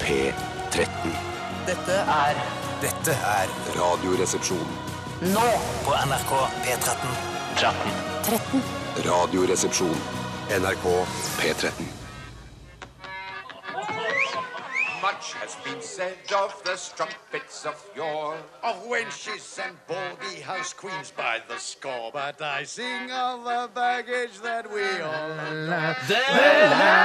P13. Dette er Dette er Radioresepsjon. nå på NRK P13. 13. Radioresepsjon. NRK P13. Much has been said of the strumpets of yore, of wenches and baldy house queens by the score. But I sing of the baggage that we all adore.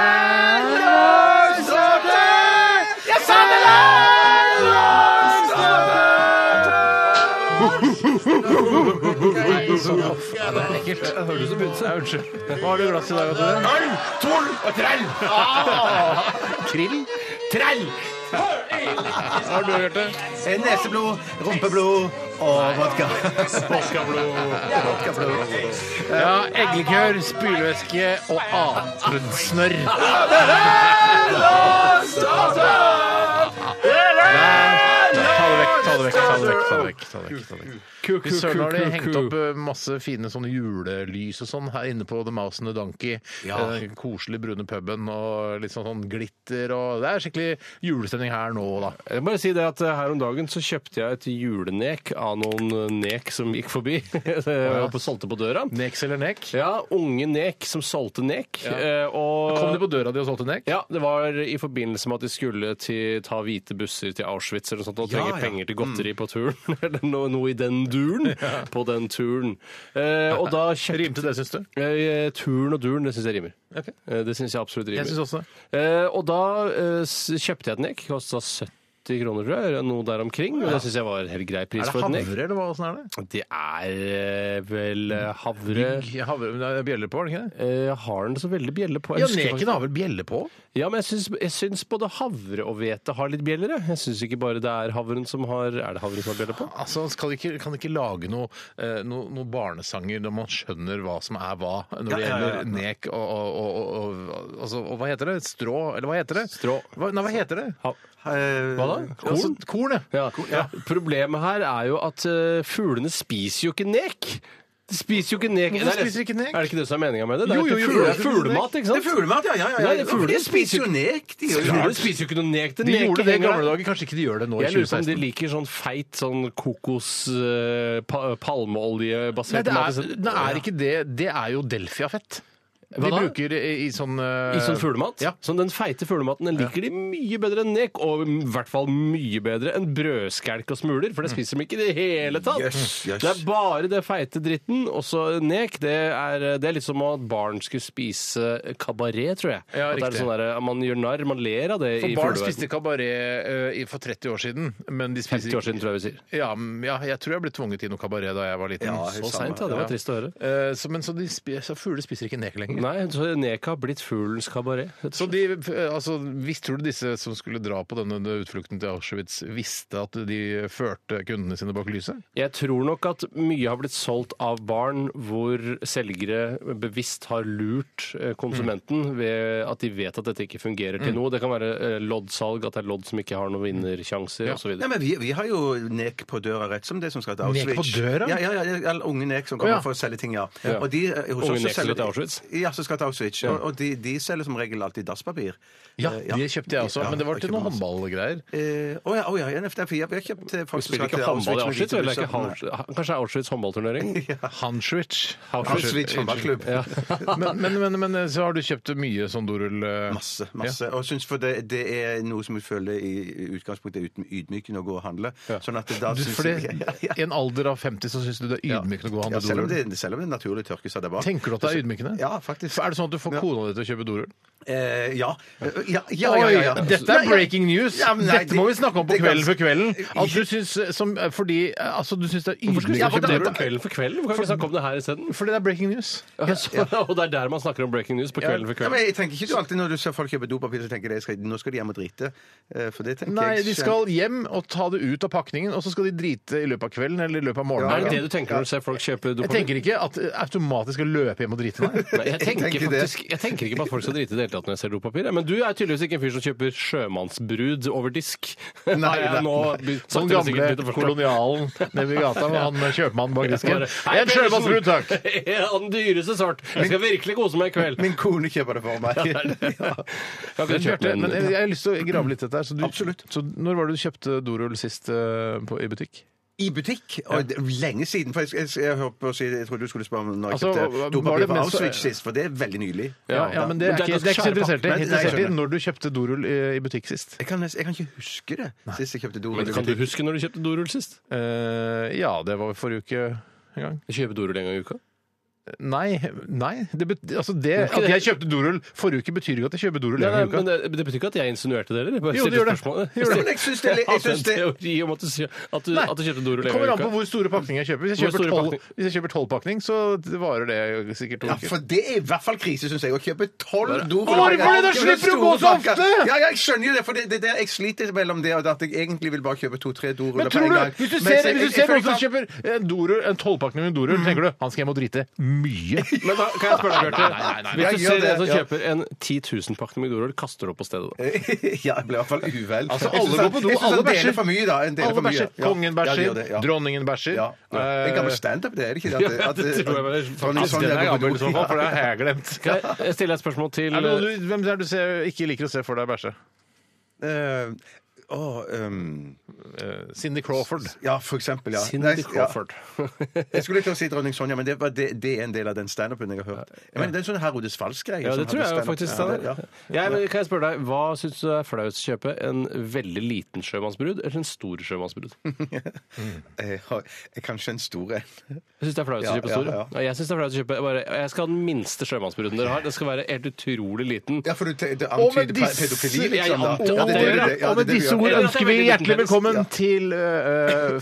Ah! Neseblod, rumpeblod og vodka. Ja, Eggelikør, spylevæske og annet snørr. Ta det vekk, ta det vekk, ta det vekk. ta det vekk, ta det vekk, ta det vekk. Fy søren, har de hengt opp eh, masse fine sånne julelys og sånn her inne på The Mouse and the Donkey. Eh, Den koselige brune puben og litt sånn, sånn glitter og Det er skikkelig julestemning her nå, da. Jeg må bare si det at eh, Her om dagen så kjøpte jeg et julenek av noen eh, nek som gikk forbi. og på- solgte på døra. Neks eller nek? Ja, Unge nek som solgte nek. eh, Og Kom de på døra di og solgte nek? Ja, det var i forbindelse med at de skulle til, ta hvite busser til Auschwitz eller noe sånt, og trenge penger til Mm. godteri på turen. Eller noe, noe i den duren. På den turen. Eh, og da kjøpte Rimte det, syns du? eh, Turen og duren, det syns jeg rimer. Eh, det syns jeg absolutt rimer. Jeg syns også det. Eh, og da eh, s- kjøpte jeg et nek. Kosta 70 kroner, tror jeg. eller Noe der omkring. Og det syns jeg var en helt grei pris Er det for et havre, nek. eller hva, åssen er det? Det er eh, vel eh, havre Bygg- Havre, men det er bjeller på, er det ikke det? Eh, Jeg har den så veldig bjelle på. Jeg Ja, husker faktisk- Neken har vel bjelle på? Ja, men jeg syns, jeg syns både havre og hvete har litt bjeller. jeg. Jeg syns ikke bare det er havren som har Er det havren som har bjeller på? Altså, skal de ikke, Kan de ikke lage noe, eh, noe, noe barnesanger når man skjønner hva som er hva, når det ja, gjelder ja. nek og, og, og, og, og, altså, og Hva heter det? Strå? Eller hva heter det? Strå. Hva, nei, hva heter det? Hva da? Korn? Altså, korn, ja. Ja. Problemet her er jo at eh, fuglene spiser jo ikke nek. De spiser jo ikke nek. Hvorfor Det er- spiser de ikke nek? Er det ikke det som er meninga med det? Det er Jo, jo jo, ikke jo, fugle, jo, jo, fuglemat, ikke Det sant? er fuglemat, ja. ja, ja. Nei, det er Ja, for fugler de spiser jo nek, de. gjør jo Fuglene det. spiser jo ikke noe nek. De gjorde det i gamle dager. dager. Kanskje ikke de gjør det nå i Jeg lurer på om de 2016? liker sånn feit sånn kokos eh, pa, Nei, palmeoljebasert det mat. er, det er ikke det. Det er jo delfiafett. De Hva da? bruker i, i sånn eh, I sånn fuglemat? Ja. Sånn den feite fuglematen den liker de mye bedre enn nek, og i hvert fall mye bedre enn brødskelk og smuler, Mm. for det spiser de ikke i det hele tatt. Jøss, jøss. Det er bare det feite dritten, og så nek. Det er, det er litt som at barn skulle spise kabaret, tror jeg. Ja, at det er riktig. sånn der, man gjør narr, man ler av det For i barn fugleverden. spiste kabaret eh, i- for 30 år siden, men de spiser 50 år siden, tror jeg vi sier. Ja, m- ja, jeg tror jeg ble tvunget i noe kabaret da jeg var liten. Ja, Så- helt Så seint, ja. Det var trist å høre. Eh, så, men så, de spi- så fugler spiser ikke nek lenger. Nei, så nek har blitt fuglens kabaret. rett og Så de, eh, altså, hvis tror du disse som skulle dra på denne utflukten til Auschwitz, visste at de førte kundene sine bak lyset? Jeg tror nok at mye har blitt solgt av barn hvor selgere bevisst har lurt eh, konsumenten ved at de vet at dette ikke fungerer til noe. Det kan være eh, loddsalg, at det er lodd som ikke har noen vinnersjanser osv. Nei, men vi, vi har jo nek på døra, rett som det som skal til Nek Auschwitz. på døra? Ja, ja, ja, eller unge nek som kommer Å, ja. for å selge ting, ja. Og de, eh, Unge hos oss så nek som selger skal til de- Auschwitz? Ja, som skal til Auschwitz. Og, og de, de selger som regel alltid dasspapir. Ja, Eh, det kjøpte jeg også, Ja, men det var til jeg noen kjøpte masse. håndballgreier. Eh, Å ja, å ja, ja, nei, for jeg jeg har kjøpt eh, folk som Spiller skal ikke til håndball i med Auschwitz? hvite Eller er ikke busser. Auschwitz, kanskje det er Auschwitz håndballturnering? Hanswitch. Auschwitz håndballklubb. Men, men, men, men så har du kjøpt mye sånn dorull... eh, Masse. masse. Og jeg synes for det, det er noe som jeg føler i i utgangspunktet er uten- ydmykende å gå og handle. Sånn at det da Du, synes fordi, jeg- ja, ja. I en alder av 50 så syns du det er ydmykende å gå og Ja, handle selv, om dorull. det, selv om det naturlig tørker seg der bak. Tenker du at det er ydmykende? Ja, faktisk. For Er det sånn at du får Ja. kona di til å kjøpe dorull? Eh, ja. Eh, ja, ja, ja, ja, ja. Oi, Dette er Nei, breaking news! Ja, men nei, Dette må vi snakke om på det- det er Kvelden for kvelden. ganske- At du syns, som, fordi, altså, du syns det er Hvorfor skal vi ydmykende å snakke om kjøpe det på dorull? Kvelden for kvelden? Hvorfor kan vi ikke snakke om det her isteden? Fordi det er breaking news. Og det er der man snakker om breaking news på Kvelden for Ja, men kvelden. jeg tenker ikke du alltid Når du ser folk kjøpe dopapir, så tenker jeg skal, nå skal de hjem og drite. Eh, For det tenker Nei, jeg de skal hjem og ta det ut av pakningen, og så skal de drite i løpet av kvelden eller i løpet av Er Ja, det morgenen. det du tenker når du ser folk kjøpe Jeg dopapir? tenker ikke at det automatisk skal eh, løpe hjem og drite, nei. Nei, jeg tenker tenker det. faktisk, jeg tenker ikke på at folk skal drite i det hele tatt når jeg ser dopapir. jeg. Men du er tydeligvis ikke en fyr som kjøper sjømannsbrud over disk. Nei, Har jeg nei, nå be- sakte, Sånn men sikkert begynt å gamle forstå. kolonialen nede ved gata med han eh, kjøpmannen bak disken. Bare, «Hei, En liksom- sjømannsbrud, takk! Ja, Av den dyreste sort. Jeg skal virkelig kose meg i kveld. Min kone kjøper det for meg. Jeg Men, kan kjøpe Bjarte, en- men jeg jeg har lyst til å grave litt i dette. her, Så du, Absolutt. Så når var det du kjøpte dorull sist eh, på, i butikk? I butikk? Og det- lenge siden. For jeg, jeg, jeg, holdt på å si, jeg trodde du skulle spørre om når jeg Altså, var kjøpte det dopapir fra mens- Auschwitz sist, for det er veldig nylig. Ja, ja, men det er, ikke, det er ikke så interessert i. Nei, nei, jeg Interessert i skjønner. når du kjøpte dorull i, i butikk sist. Jeg kan, nes- jeg kan ikke huske det. Sist jeg kjøpte dorull. Men kan du huske når du kjøpte dorull sist? Eh, ja, det var forrige uke en gang. Kjøpe dorull en gang i uka? Nei. nei det bet altså det, at jeg kjøpte dorull forrige uke, betyr ikke at jeg kjøper dorull Nei, nei, en gang i uka. men det, det betyr ikke at jeg insinuerte det, eller? Bare Jo, stille det gjør det. spørsmål. Det gjør det. Men jeg syns det- jeg hadde syns en det- teori om at du, sier- at du, Nei, at du kjøpte dorull Det en gang kommer i an på uka. hvor store pakninger jeg kjøper. Hvis Hvor jeg kjøper store tolv- pakning? hvis jeg kjøper tolvpakning, så det varer det sikkert to Ja, uker. for det er i hvert fall krise, syns jeg, å kjøpe tolv Hvorfor doruller. det? Da slipper du å gå så Store ofte! pakker. Ja, ja, jeg skjønner jo det, for det, det, det, jeg sliter mellom det og det at jeg egentlig vil bare kjøpe to-tre Men doruller på tror en du, gang. hvis du Mens ser, jeg- hvis du jeg- ser jeg- noen som kjøper en dorull, en tolvpakning med en dorull, tenker du han skal hjem og drite mye. Men da kan jeg spørre deg, Bjarte. nei, Hvis du gjør ser det, en som ja. kjøper en 10 000-pakning med dorull, kaster du opp på stedet da? ja, jeg ble i hvert fall uvel. Altså, Jeg alle synes han- går på do, jeg synes han alle deler bæsjer. for mye, da. En deler Alle for mye. bæsjer. Ja. Kongen Ja, de bæsjer, Eh, gjør det, ja. dronningen bæsjer. Ja. En gammel standup, det er ikke det? At, Ja, at, det at, tror jeg vel. sånn, Altså, sånn, Den er jeg går på gammel i do. så fall, for det har jeg glemt. Skal jeg- jeg stille et spørsmål til eh, Er det noen du, hvem er det du ser, ikke liker å se for deg bæsje? Eh, åh, ehm, Eh, Cindy Crawford. ja, for eksempel, ja. Nei, Cindy ja. Crawford. Jeg skulle til å si dronning Sonja, men det, var, det, det er en del av den standupen jeg har hørt. Jeg mener, det er en sånn Herodes Falsk-greie. Ja, som det tror jeg hadde jo faktisk. standup. Steinar. Ja, ja. Jeg, men kan jeg spørre deg, Hva syns du er flaut? Kjøpe en veldig liten sjømannsbrud eller en stor sjømannsbrud? Jeg har- jeg- Kanskje en stor en. Jeg syns det er flaut å Ja, kjøpe ja, store. ja. Ja, Jeg synes det er flaut å kjøpe bare, Jeg skal ha den minste sjømannsbruden dere har. Den skal være helt utrolig liten. Ja, for du te- det Og med antyder pe- disse- Jeg pedofili, liksom. da. antyder- Ja, det er det- det- ja, det er Og med det vi disse gjør. ord Eller at det ønsker er vi veldig liten hjertelig penis. velkommen til eh,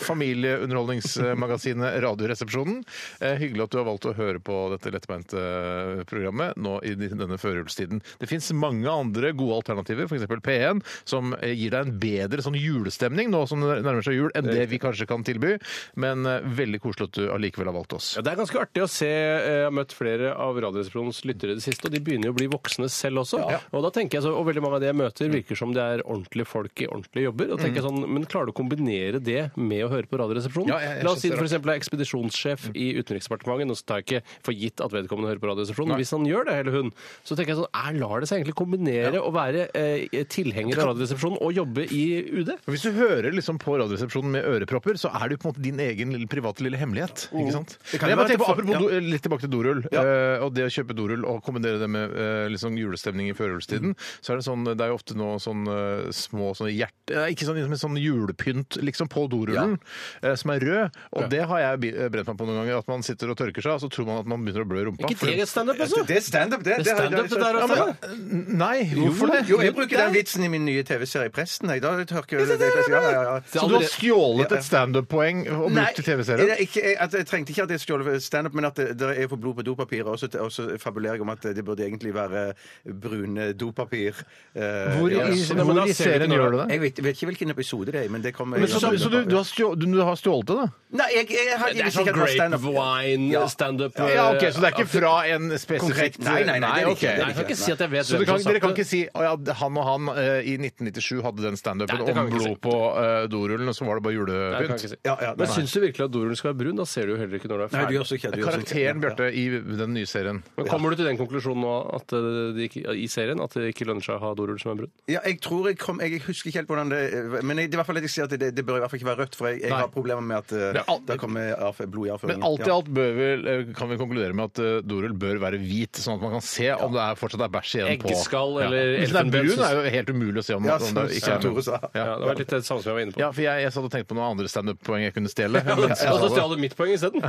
familieunderholdningsmagasinet Radioresepsjonen. Eh, hyggelig at du har valgt å høre på dette lettbeinte eh, programmet nå i denne førjulstiden. Det fins mange andre gode alternativer, f.eks. P1, som eh, gir deg en bedre sånn julestemning nå som det nærmer seg jul, enn det vi kanskje kan tilby. Men eh, veldig koselig at du allikevel har valgt oss. Ja, det er ganske artig å se. eh, Jeg har møtt flere av Radioresepsjonens lyttere i det siste, og de begynner jo å bli voksne selv også. Og da tenker jeg så, og veldig mange av de jeg møter, virker som det er ordentlige folk i ordentlige jobber. Og da tenker jeg sånn, Men klarer du å kombinere det med å høre på Radioresepsjonen? Mm. Ja, jeg- jeg La oss si synes du det er Mm. f.eks. er ekspedisjonssjef i Utenriksdepartementet. Nå tar jeg ikke for gitt at vedkommende hører på Radioresepsjonen. Hvis han gjør det, eller hun, så tenker jeg sånn er, Lar det seg egentlig kombinere å være eh, tilhenger av Radioresepsjonen og jobbe i UD? Men Hvis du hører liksom på Radioresepsjonen med ørepropper, så er det jo på en måte din egen lille, private lille hemmelighet. ikke sant? Mm. Det kan Men jeg bare jo være tenker på, til apropos for- do- Litt tilbake til dorull eh, og det å kjøpe dorull og kombinere det med eh, liksom julestemning i Mm. førjulstiden. så er Det sånn, det er jo ofte nå sånn eh, små sånne hjerte... Nei, ikke sånn, men sånn julepynt liksom på dorullen eh, som er rød. Og det har jeg bi- brent meg på noen ganger. At man sitter og tørker seg, og så tror man at man begynner å blø i rumpa. Ikke for- det standup, altså? Det er standup, det. Det er standup, det der altså. Ja, men- også. Nei, hvorfor det? Jo, jeg bruker den vitsen i min nye TV-serie Presten. Jeg, da tørker jeg det, ja, ja, ja. Så du har stjålet et standup-poeng og brukt i TV-serien? det er ikke, jeg, at jeg trengte ikke at jeg stjal standup, men at det, det er for blod på dopapiret. Og så og så fabulerer jeg om at det burde egentlig være brune dopapir. Eh, Hvor i, ja, ja. så- hvor men da i ser vi ikke serien noe av gjør du det? Jeg vet, vet ikke hvilken episode det er i, men det kommer Men så, så, du, du, har stjålet, du har stjålet det, da? Nei, jeg, jeg, jeg, jeg, Det er sånn jeg, jeg, grape wine standup Ja, ok, Så det er ikke fra en Konkret. spesifikk Nei, nei, nei, det er ok. ikke- det er Nei, jeg kan ikke si at jeg vet Så du hvem kan, som dere kan satt det. ikke si at ja, han og han eh, i 1997 hadde den standupen Nei, det kan om vi ikke blod si. på eh, dorullen, og så var det bare Nei, det kan jeg julepynt? ikke si. Ja, ja, Men nei. syns du virkelig at dorullen skal være brun? Da ser du jo heller ikke når det er Nei, du ferdig. gjør så ikke det, du gjør så ikke det. Karakteren, Bjarte, i den nye serien. Men Kommer du til den konklusjonen nå at eh, det ikke, i serien at det ikke lønner seg å ha dorull som er brun? Ja, jeg tror jeg kom Jeg husker ikke helt hvordan det Men jeg, det er i hvert fall at jeg sier at det, det bør i hvert fall ikke være rødt, for jeg, jeg Nei. har problemer med at eh, Men alt- det kommer avf- blod i avføringen. Men alt i Ja. alt bør vi, eh, kan vi konkludere med at eh, dorull bør være hvit, sånn at man kan se om det er fortsatt er bæsj igjen på Eggeskall eller ja. Hvis den er elfenben, brun, er det jo helt umulig å se om, Ja, om det som- ikke som er Tore sa. Ja, Det var litt det samme som jeg var inne på. Ja, for jeg, jeg satt og tenkte på noen andre standup-poeng jeg kunne stjele. Og men jeg så sa det. stjal du mitt poeng isteden.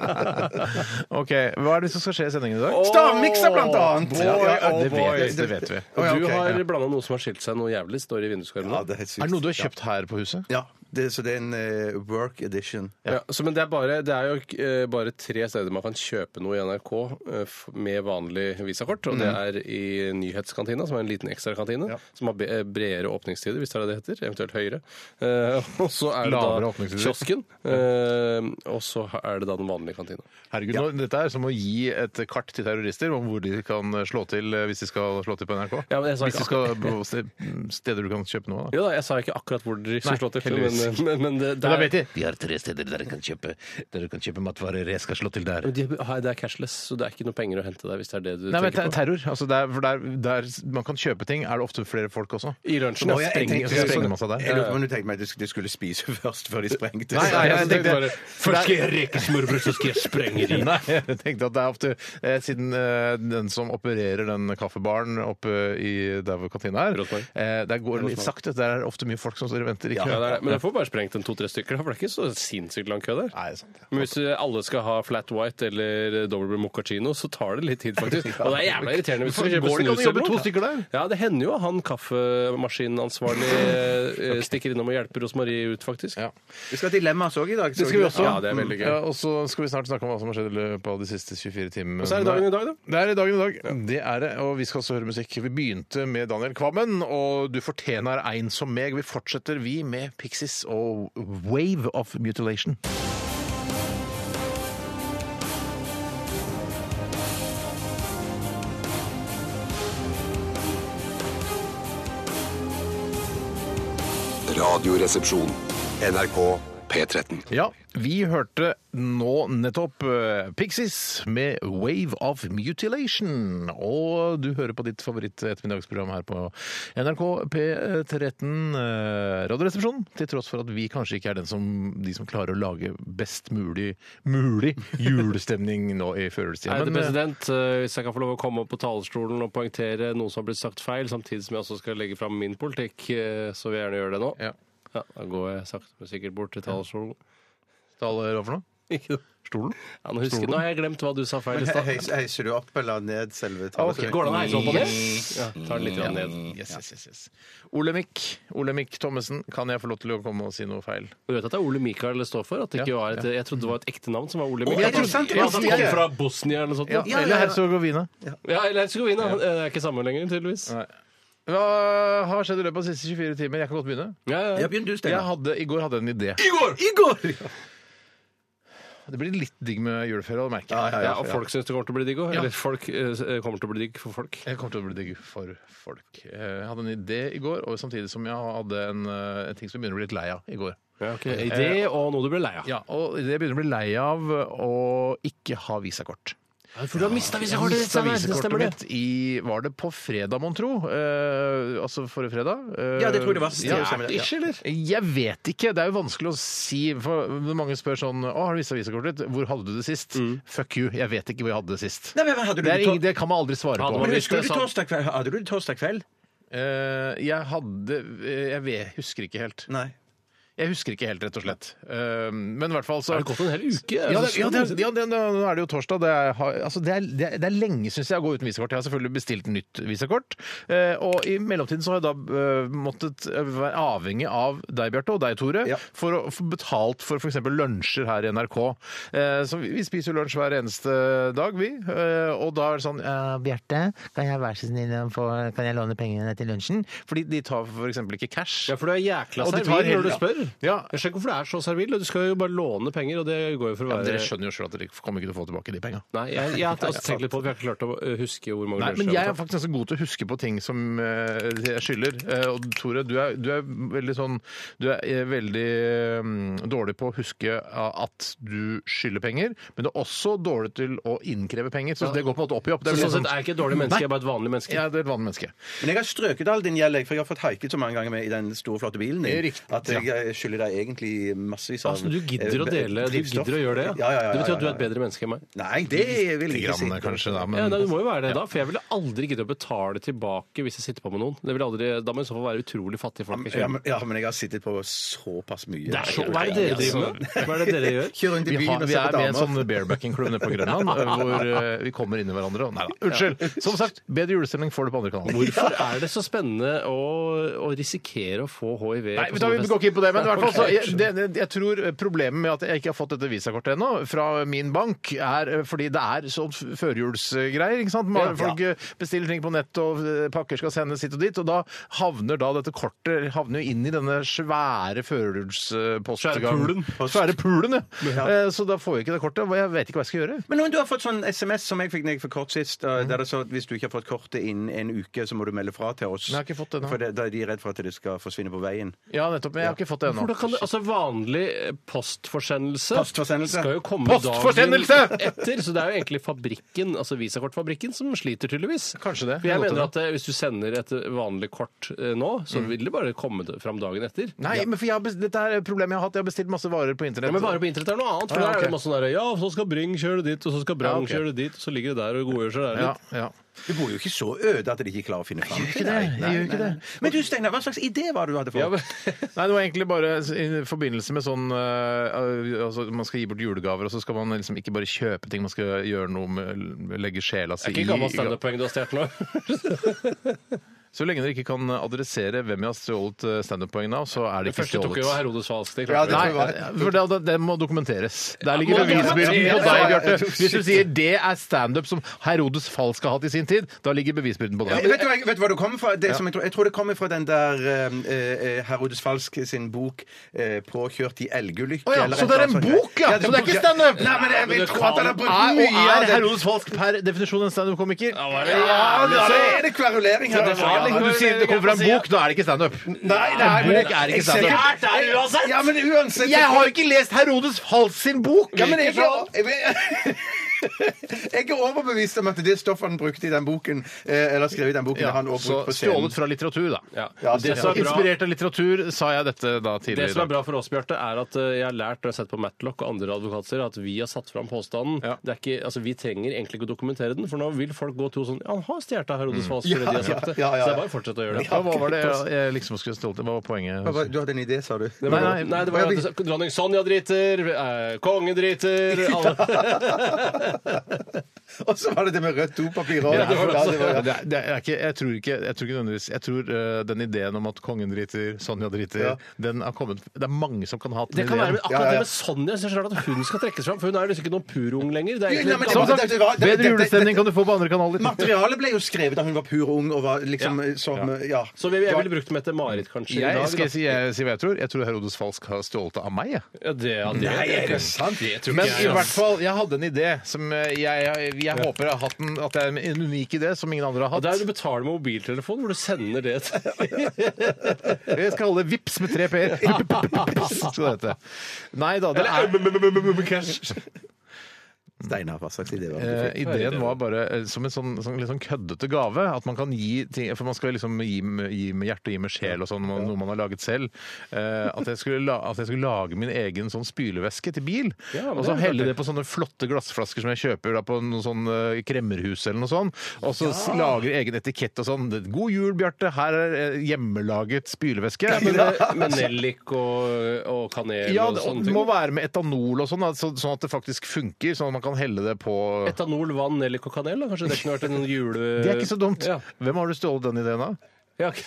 ok, Hva er det som skal skje i sendingen i dag? Stavmikser, blant annet! Ja, ja, ja, det, boy. vet, det vet vi. Å, ja, Du ok. har blanda noe som har skilt seg noe jævlig, står i vinduskarmen. Ja, nå. det er helt sykt. Er det noe du har kjøpt her på huset? Ja. Det, så det er en eh, work edition. Ja, så, men det er, bare, det er jo eh, bare tre steder man kan kjøpe noe i NRK eh, f- med vanlig visakort. Og det er i nyhetskantina, som er en liten ekstrakantine, som har be- eh, bredere åpningstider, hvis det er det det heter. Eventuelt høyere. Eh, og så er det Lavere da åpningstider. kiosken. eh, og så er det da den vanlige kantina. Herregud, nå, Dette er som å gi et kart til terrorister om hvor de kan slå til eh, hvis de skal slå til på NRK. Ja, men jeg sa hvis de ikke skal på ste- steder du kan kjøpe noe av. da. Jo da, jeg sa ikke akkurat hvor de skal Nei, slå til, men, eh, heldigvis. men, men det, det Men da er vet de. Vi har tre steder der du kan kjøpe, der du kan kjøpe matvarer. Jeg skal slå til der. Men de, har- det er cashless, så det er ikke noe penger å hente der hvis det er det du Nei, men tenker ter på. terror. Altså der, for der, der man kan kjøpe ting, er det ofte flere folk også. I lunsjen. Nå, jeg- jeg sprenger- tenkte- sprenger man seg der? Jeg lurte på om du tenkte meg at de sk- de skulle spise først før de sprengte. Nei, nei, jeg tenkte bare, Først skal jeg reke smørbrød, så skal jeg sprenge det Nei, jeg tenkte at det er ofte eh, Siden eh, den som opererer den kaffebaren oppe i der hvor kantina er, Rosenborg. eh, der går det litt sakte. Der er det ofte mye folk som står og venter. Ikke? Ja, det er, det. men jeg får bare sprengt en to-tre stykker, da, for det er ikke så sinnssykt lang kø der. Nei, det er sant. Men hvis eh, alle skal ha flat white eller dobbel moccacino, så tar det litt tid, faktisk. Og det er jævla irriterende hvis du skal kjøpe Går det ikke an å snus jobbe eller to noe. stykker der? Ja, det hender jo at han kaffemaskinansvarlig eh, stikker innom og hjelper Rosmarie ut, faktisk. Ja. Vi skal ha dilemmaer også i dag. Det skal vi også. Ja, det er veldig gøy. Ja, og så skal vi snart snakke om hva som har skjedd i løpet av de siste 24 timene. Og så er det dagen i dag, da. Det er i dagen i dag. Det er det, og vi skal også høre musikk. Vi begynte med Daniel Kvammen, og Du fortjener ein som meg. Vi fortsetter, vi, med Pixies og Wave of Mutilation. Radioresepsjon. NRK P13. Ja, vi hørte nå nettopp eh, Pixies med Wave of Mutilation. Og du hører på ditt favoritt-ettermiddagsprogram her på NRK P13 eh, Radioresepsjonen. Til tross for at vi kanskje ikke er den som, de som klarer å lage best mulig, mulig julestemning nå i førjulstida. Ærede Men, eh, president, eh, hvis jeg kan få lov å komme opp på talerstolen og poengtere noe som har blitt sagt feil, samtidig som jeg også skal legge fram min politikk, eh, så vil jeg gjerne gjøre det nå. Ja. Ja, da går jeg sakte, men sikkert bort til talerstolen. taler over nå? Ikke noe. Stolen? Ja, nå, husker, nå har jeg glemt hva du sa feil i stad. Heiser, heiser du opp eller ned selve Ah, Ok, Går det an å heise opp på det? Ja, ta den litt grann ned. Yes, yes, yes, yes. Olemic, Olemic Thommessen, kan jeg få lov til å komme og si noe feil? Du vet at det er Ole Mikael det står for? At det ikke Ja, var et, jeg trodde det var et ekte navn som var Ole ja, Mikael. det er sant, det Ja, at var han sant, kom ja. fra Bosnia eller noe sånt. Ja, Ja, eller Herzegovina. eller Herzegovina. eh, Det er ikke samme lenger, tydeligvis. Nei. Hva har skjedd i løpet av de siste 24 timer? Jeg kan godt begynne. Ja, ja. Begynn du, Jeg Steinar. hadde, I går hadde jeg en idé. Det blir litt digg med juleferie, det merker jeg. Ja, og folk syns det kommer til å bli digg òg. Ja. Eller folk eh, kommer til å bli digg for folk. Jeg kommer til å bli digg for folk. Eh, Jeg hadde en idé i går, og samtidig som jeg hadde en, eh, en ting som jeg begynner å bli litt lei av i går. Ja, ok. Idé og noe du blir lei av. Eh, Ja, og det jeg begynner å bli lei av å ikke ha visakort. For du har mista Jeg mistet visakortet mitt i Var det på fredag, mon tro? Eh, altså forrige fredag? Eh, Ja, det tror jeg det var. Ja, Det stemmer, ja. ikke, eller? Jeg vet ikke. Det er jo vanskelig å si. For mange spør sånn Å, har du vist visakortet ditt? Hvor hadde du det sist? Fuck you. Jeg vet ikke hvor jeg hadde det sist. Mm. Nei, men hadde du det, det er tor- ingen, det kan man aldri svare Hadde på. man Men det- Husker du det sant. torsdag kveld? Hadde du det torsdag kveld? Eh, jeg hadde eh, Jeg vet, husker ikke helt. Nei. Jeg husker ikke helt, rett og slett. Eh, men i hvert fall så Det har gått en hel uke. Ja, det, ja, det, ja det, nå er det jo torsdag. Det er, har- altså, det er, det er, det er lenge, syns jeg, å gå uten visakort. Jeg har selvfølgelig bestilt nytt visakort. Eh, og i mellomtiden så har jeg da eh, måttet være avhengig av deg, Bjarte, og deg, Tore, Ja. for å få betalt for f.eks. lunsjer her i NRK. Eh, så vi, vi spiser jo lunsj hver eneste dag, vi. Eh, og da er det sånn eh, Bjarte, kan jeg være så snill å få- kan jeg låne pengene til lunsjen? Fordi de tar f.eks. ikke cash. Ja, for du er jækla Og de tar servil når heller- du spør. Ja. Jeg skjønner ikke hvorfor du er så servil. Du skal jo bare låne penger, og det går jo for å Ja, men være dere skjønner jo sjøl at dere kommer ikke til å få tilbake de penga. Nei, jeg, jeg har altså tenkt litt på det, for jeg har ikke klart å eh, huske hvor mange Nei, lunsjer men jeg har er faktisk ganske god til å huske på ting som eh, jeg skylder. Eh, og Tore, du er, du er veldig sånn Du er eh, veldig mm, dårlig på å huske eh, at du skylder penger, men du er også dårlig til å innkreve penger. Så det går på en måte opp i opp. Det tatt. er Så litt sånn sånn- sett er jeg ikke et dårlig menneske, jeg er bare et vanlig menneske. Ja, det er et vanlig menneske. Men jeg har strøket all din gjeld, jeg, for jeg har fått haiket så mange ganger med i den store, flotte bilen din Riktig, at jeg eh, skylder deg egentlig massevis av Altså, du gidder å eh, dele, du drivstoff. gidder å gjøre det, ja. Ja, ja, ja, Det betyr ja, at du er ja, et bedre menneske enn meg. ja. Nei, det vil jeg ikke si. Grann, kanskje, da, Ja, men nei, Du må jo være det da, for jeg ville aldri gidde å betale tilbake hvis jeg sitter på med noen. Det vil aldri, da må jeg i så fall være utrolig fattig folk. jeg Ja, kjenner. men, ja, men jeg har sittet på såpass mye. Det er så, hva er det dere driver med? Hva er det dere gjør? Kjører rundt i vi, byen har, og vi ser er på med i en damer. sånn barebacking-klubb nede på Grønland, eh, hvor eh, vi kommer inn i hverandre og Nei da. Unnskyld! Som sagt, bedre julestemning får du på andre kanaler. Hvorfor er det så spennende å, å risikere å få hiv? Nei, på vet du hva, sommerfest? vi går ikke inn på det, men men i hvert fall så, jeg, det, det, jeg tror problemet med at jeg ikke har fått dette visakortet ennå, fra min bank, er eh, fordi det er sånn f- førjulsgreier. ikke sant? Man, Folk eh, bestiller ting på nett, og eh, pakker skal sendes hit og dit, og da havner da dette kortet havner jo inn i denne svære førjulspostgangen. pulen. Svære pulen, ja. Eh, Så da får jeg ikke det kortet. og Jeg vet ikke hva jeg skal gjøre. Men om du har fått sånn SMS som jeg fikk når jeg fikk kort sist, eh, der det sa at hvis du ikke har fått kortet innen en uke, så må du melde fra til oss. Jeg har ikke fått det nå. For det, da er de redd for at det skal forsvinne på veien. Ja, nettopp, men jeg har ikke fått det ennå. Hvordan kan det, altså Vanlig postforsendelse, Postforsendelse. skal jo komme Postforsendelse! dagen etter. Så det er jo egentlig fabrikken, altså Visakortfabrikken som sliter, tydeligvis. Kanskje det. For jeg Godt å mener høre. at eh, Hvis du sender et vanlig kort eh, nå, så vil det bare komme det fram dagen etter. Nei, men for jeg har best, dette er problemet jeg har hatt. Jeg har bestilt masse varer på internett. Ja, men bare på internett er noe annet. For Ah, ja, der er ok. det masse sånn der, Ja, så skal Bring kjøre dit, og så skal Brang Ja, ok. kjøre dit, og så ligger det der og godgjør seg der ja, litt. ja. Du bor jo ikke så øde at de ikke klarer å finne fram til det, jeg Nei, gjør ikke nei, nei. Men du, Steinar, hva slags idé var det du hadde fått? Ja, men- Nei, det var egentlig bare i forbindelse med sånn øh, altså, Man skal gi bort julegaver, og så skal man liksom ikke bare kjøpe ting, man skal gjøre noe med Legge sjela si Det er ikke gammelt standup-poeng du har stjålet nå. Så lenge dere ikke kan adressere hvem jeg har stjålet øh, standup-poeng av, så er det Det ikke første tok jo stjålet. Herodes falsk. Det Nei, klarte vi. for det, det må dokumenteres. Der ligger må bevisbyrden på deg, dokumenteres. Bjarte. Hvis du sier det er standup som Herodes Falsk har hatt i sin tid, da ligger bevisbyrden på Jeg deg. vet, du, hva- vet du hva det kommer fra? Det som jeg, tror, jeg tror det kommer fra den der eh, eh, Herodes Falsk sin bok eh, 'Påkjørt i elgulykke'. Å ja, eller så et det er en eller annet sånt. bok, ja! Ja, Så det er ikke en bok, ja. standup! Nei, men jeg vil tro at han har brukt Er, og mye av er den. Herodes Falsk per definisjon en standup-komiker? var det- Ja, da altså. er det kverulering her. var litt- Ja, men- Du sier det kommer fra altså, en bok, da er det ikke standup. Nei, nei, men Bok er ikke jeg ser standup. Det er det uansett! Ja, men uansett Jeg har ikke lest Herodes Hals sin bok! ja, men jeg, jeg, jeg er overbevist om at det stoffet han brukte i den boken, eh, eller skrev i den boken, Ja, har han også så brukt på scenen. stjålet fra litteratur, da. Ja. Ja, Det det, som som er er bra, Inspirert av litteratur, sa jeg dette da det som tidligere. er bra for oss, Bjarte, er at eh, jeg har lært når jeg har sett på Matlock og andre advokater, at vi har satt fram påstanden. Ja. Det er ikke, altså, vi trenger egentlig ikke å dokumentere den, for nå vil folk gå til og sånn Ja, han har stjålet av Herodes Falsk fordi de har sagt det. Mm. ja, ja, ja. Så det er bare å fortsette å gjøre det. Ja, hva var det jeg liksom skulle stjålet? Hva var poenget? Du hadde en idé, sa du? Nei, nei, nei, det var jo at dronning Sonja driter, eh, kongen driter alle. Og så var det det med rødt dopapir òg. Ja, det var det altså. Det er- det er ikke- Jeg tror ikke jeg tror ikke nødvendigvis Jeg tror eh, den ideen om at kongen driter, Sonja driter, Ja. den har kommet Det er mange som kan ha hatt Det den kan være, men akkurat ideen. Ja, ja, ja. det med sånn. Sonja så er det rart at hun skal trekkes fram, for hun er jo liksom ikke noen purung lenger. Det er Nei, men egentlig, det Som var- sagt, dette var- dette- bedre dette- julestemning kan du få på andre kanaler. Materialet ble jo skrevet da hun var pur ung og var liksom Ja. som Ja. så vi- jeg ville brukt dem etter Marit, kanskje. i dag, Jeg skal da. jeg si, jeg, si hva jeg tror. Jeg tror Herodes Falsk har stjålet det av meg. Jeg. Ja, det, ja, det, Nei, er det sant? Det tror Men ikke i jeg. altså. hvert fall, jeg hadde en idé som eh, jeg, jeg, jeg håper jeg har hatt en, at det er en unik idé som ingen andre har Og der du hatt. betaler med mobiltelefon, hvor du sender det til Jeg skal holde Vips med tre p-er. Skal det hete. Nei da, det er Steinar, hva slags idé var det? Eh, ideen var bare eh, som en sånn, sånn, litt sånn køddete gave. At man kan gi ting For man skal liksom gi, med- gi med hjerte og gi med sjel og sånn, noe noe man har laget selv. Eh, at, jeg skulle la, at jeg skulle lage min egen sånn spylevæske til bil. Ja, men og så det er helle artig. det på sånne flotte glassflasker som jeg kjøper da, på noe sånn eh, kremmerhus eller noe sånn. Og så s- lager egen etikett og sånn. 'God jul, Bjarte. Her er eh, hjemmelaget spylevæske'. med nellik og, og kanel Ja, og det sånne det ting. må være med etanol og sånn, da, så- sånn at det faktisk funker. Sånn at man kan helle det på Etanol, vann, nellik og kanel? Da. Kanskje det kunne vært en sånn jule... Det er ikke så dumt. Ja. Hvem har du stjålet den ideen av? Ja, ok.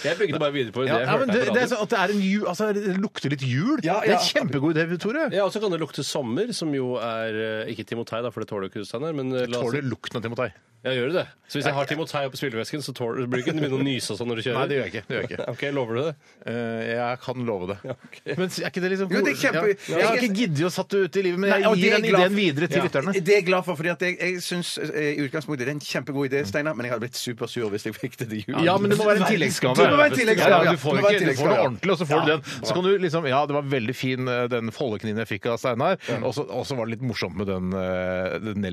Jeg bygde bare videre på det. Ja, jeg ja, men hørte det, her på det, er radioen. sånn at det, er en jul, altså, det lukter litt jul. Ja, Det er ja. en kjempegod idé, Tore. ja, og så kan det lukte sommer, som jo er eh, Ikke Timotei, da, for det tåler jo ikke Steinar. Men eh, la oss Tåler lukten av Timotei. Ja, gjør du det? Så hvis jeg har Timotei oppi spylevæsken, så tåler blir du ikke begynne å nyse og sånn når du kjører? Nei, det gjør jeg ikke. Det gjør jeg, ikke. Ok, lover du det? Eh, jeg kan love det. ok. Men er ikke det liksom Jo, det er kjempe- Ja. Jeg har ikke giddet å satt det ut i livet, men Nei, jeg og det gir er den glad- ideen videre til Ja. lytterne. Det er jeg glad for, fordi at jeg, jeg syns eh, i utgangspunktet det er en kjempegod idé, Steinar, men jeg hadde blitt supersur hvis jeg fikk det til jul. Ja, men det må være en tilleggsgave. Det må være en tilleggsgave, Ja, ja. du får, Det må være ikke, du får en det tilleggsgave. ordentlig, og så får du den. Så kan du liksom Ja, det var veldig fin, eh, den foldekniven jeg fikk av Steinar, og så og så var det litt morsomt med den, eh, den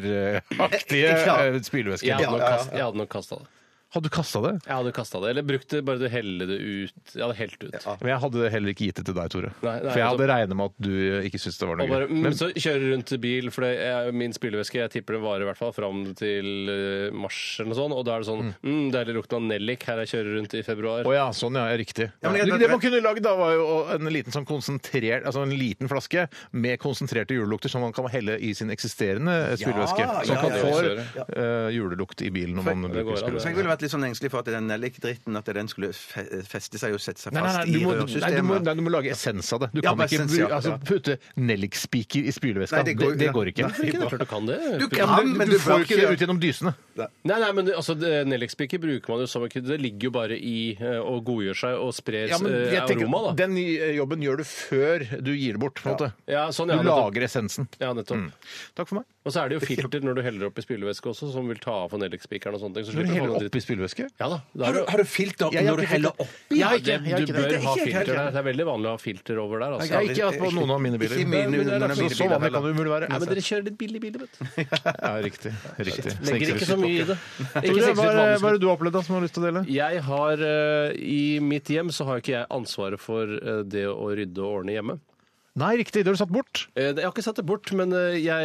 nellikspiker-aktige Ja. eh, Jeg spylevæsken. hadde nok kast- jeg hadde nok kasta det. Hadde du kasta det? Jeg hadde kasta det. Eller brukte bare du helle det ut. Jeg hadde helt ut. Men jeg hadde heller ikke gitt det til deg, Tore. Nei, nei, for jeg hadde altså- regnet med at du eh, ikke syntes det var noe Og bare, gøy. mm, Men så kjører rundt i bil, for det er min spylevæske jeg tipper den varer i hvert fall fram til eh, mars eller noe sånt. Og da er det sånn mm. Deilig lukten av nellik her jeg kjører rundt i februar. Å ja, sånn ja, riktig. men jeg- Du, det man kunne lagd da, var jo en liten sånn konsentrert Altså en liten flaske med konsentrerte julelukter som man kan helle i sin eksisterende eh, spylevæske. Så ja, man kan ja, få ja. eh, julelukt i bilen når man det går bruker an, det. Så jeg spylevæske. ville vært vært litt sånn engstelig for at den nellikdritten at den skulle fe feste seg og sette seg Nei, nei, fast nei, du må, i nei, du må, rørsystemet. nei, du må lage essens av det. Du Ja, kan bare ikke essens, ja. bru- altså, putte nellikspiker i spyleveska. Nei, Det, det det, går- går ikke. Nei, Det er ikke klart du kan det. Du Ja, kan, men, men du du får bør ikke det ikke- ut gjennom dysene. Nei, nei, men altså, det- nellikspiker bruker man jo som ikke Det ligger jo bare i eh, å godgjøre seg og spre Ja, men eh, jeg aroma, da. tenker, Den eh, jobben gjør du før du gir det bort. på en måte. Ja, sånn, Du ja, nettopp. lager Mm. essensen. Ja, nettopp. Takk for meg. Og så er det jo filter når du heller oppi spylevæske også, som vil ta av for nellikspikeren og sånne ting. Så slipper Du du å få heller dritt. oppi spylevæske. Ja da. da er Har du, det- har du filter Jeg- jeg har når du ikke heller filter. oppi? ja, jeg det, har ikke du det. bør Det er ha ikke helt filter greit. der. Det er veldig vanlig å ha filter over der. Jeg Altså. har ikke hatt på noen av mine biler. Ikke mine, Nei, men det er noen av altså Så mine biler vanlig kan det heller. umulig være. Nei, men dere kjører litt billig bil, vet du. Ja, riktig. riktig. Legger ikke så mye i det. Ikke Tore, seks litt hva er det- vanlig hva er det du har opplevd da, som du har lyst til å dele? Jeg har eh, I mitt hjem så har ikke jeg ansvaret for eh, det å rydde og ordne hjemme. Nei, riktig. Det har du satt bort. Eh, Jeg har ikke satt det bort, men eh, jeg,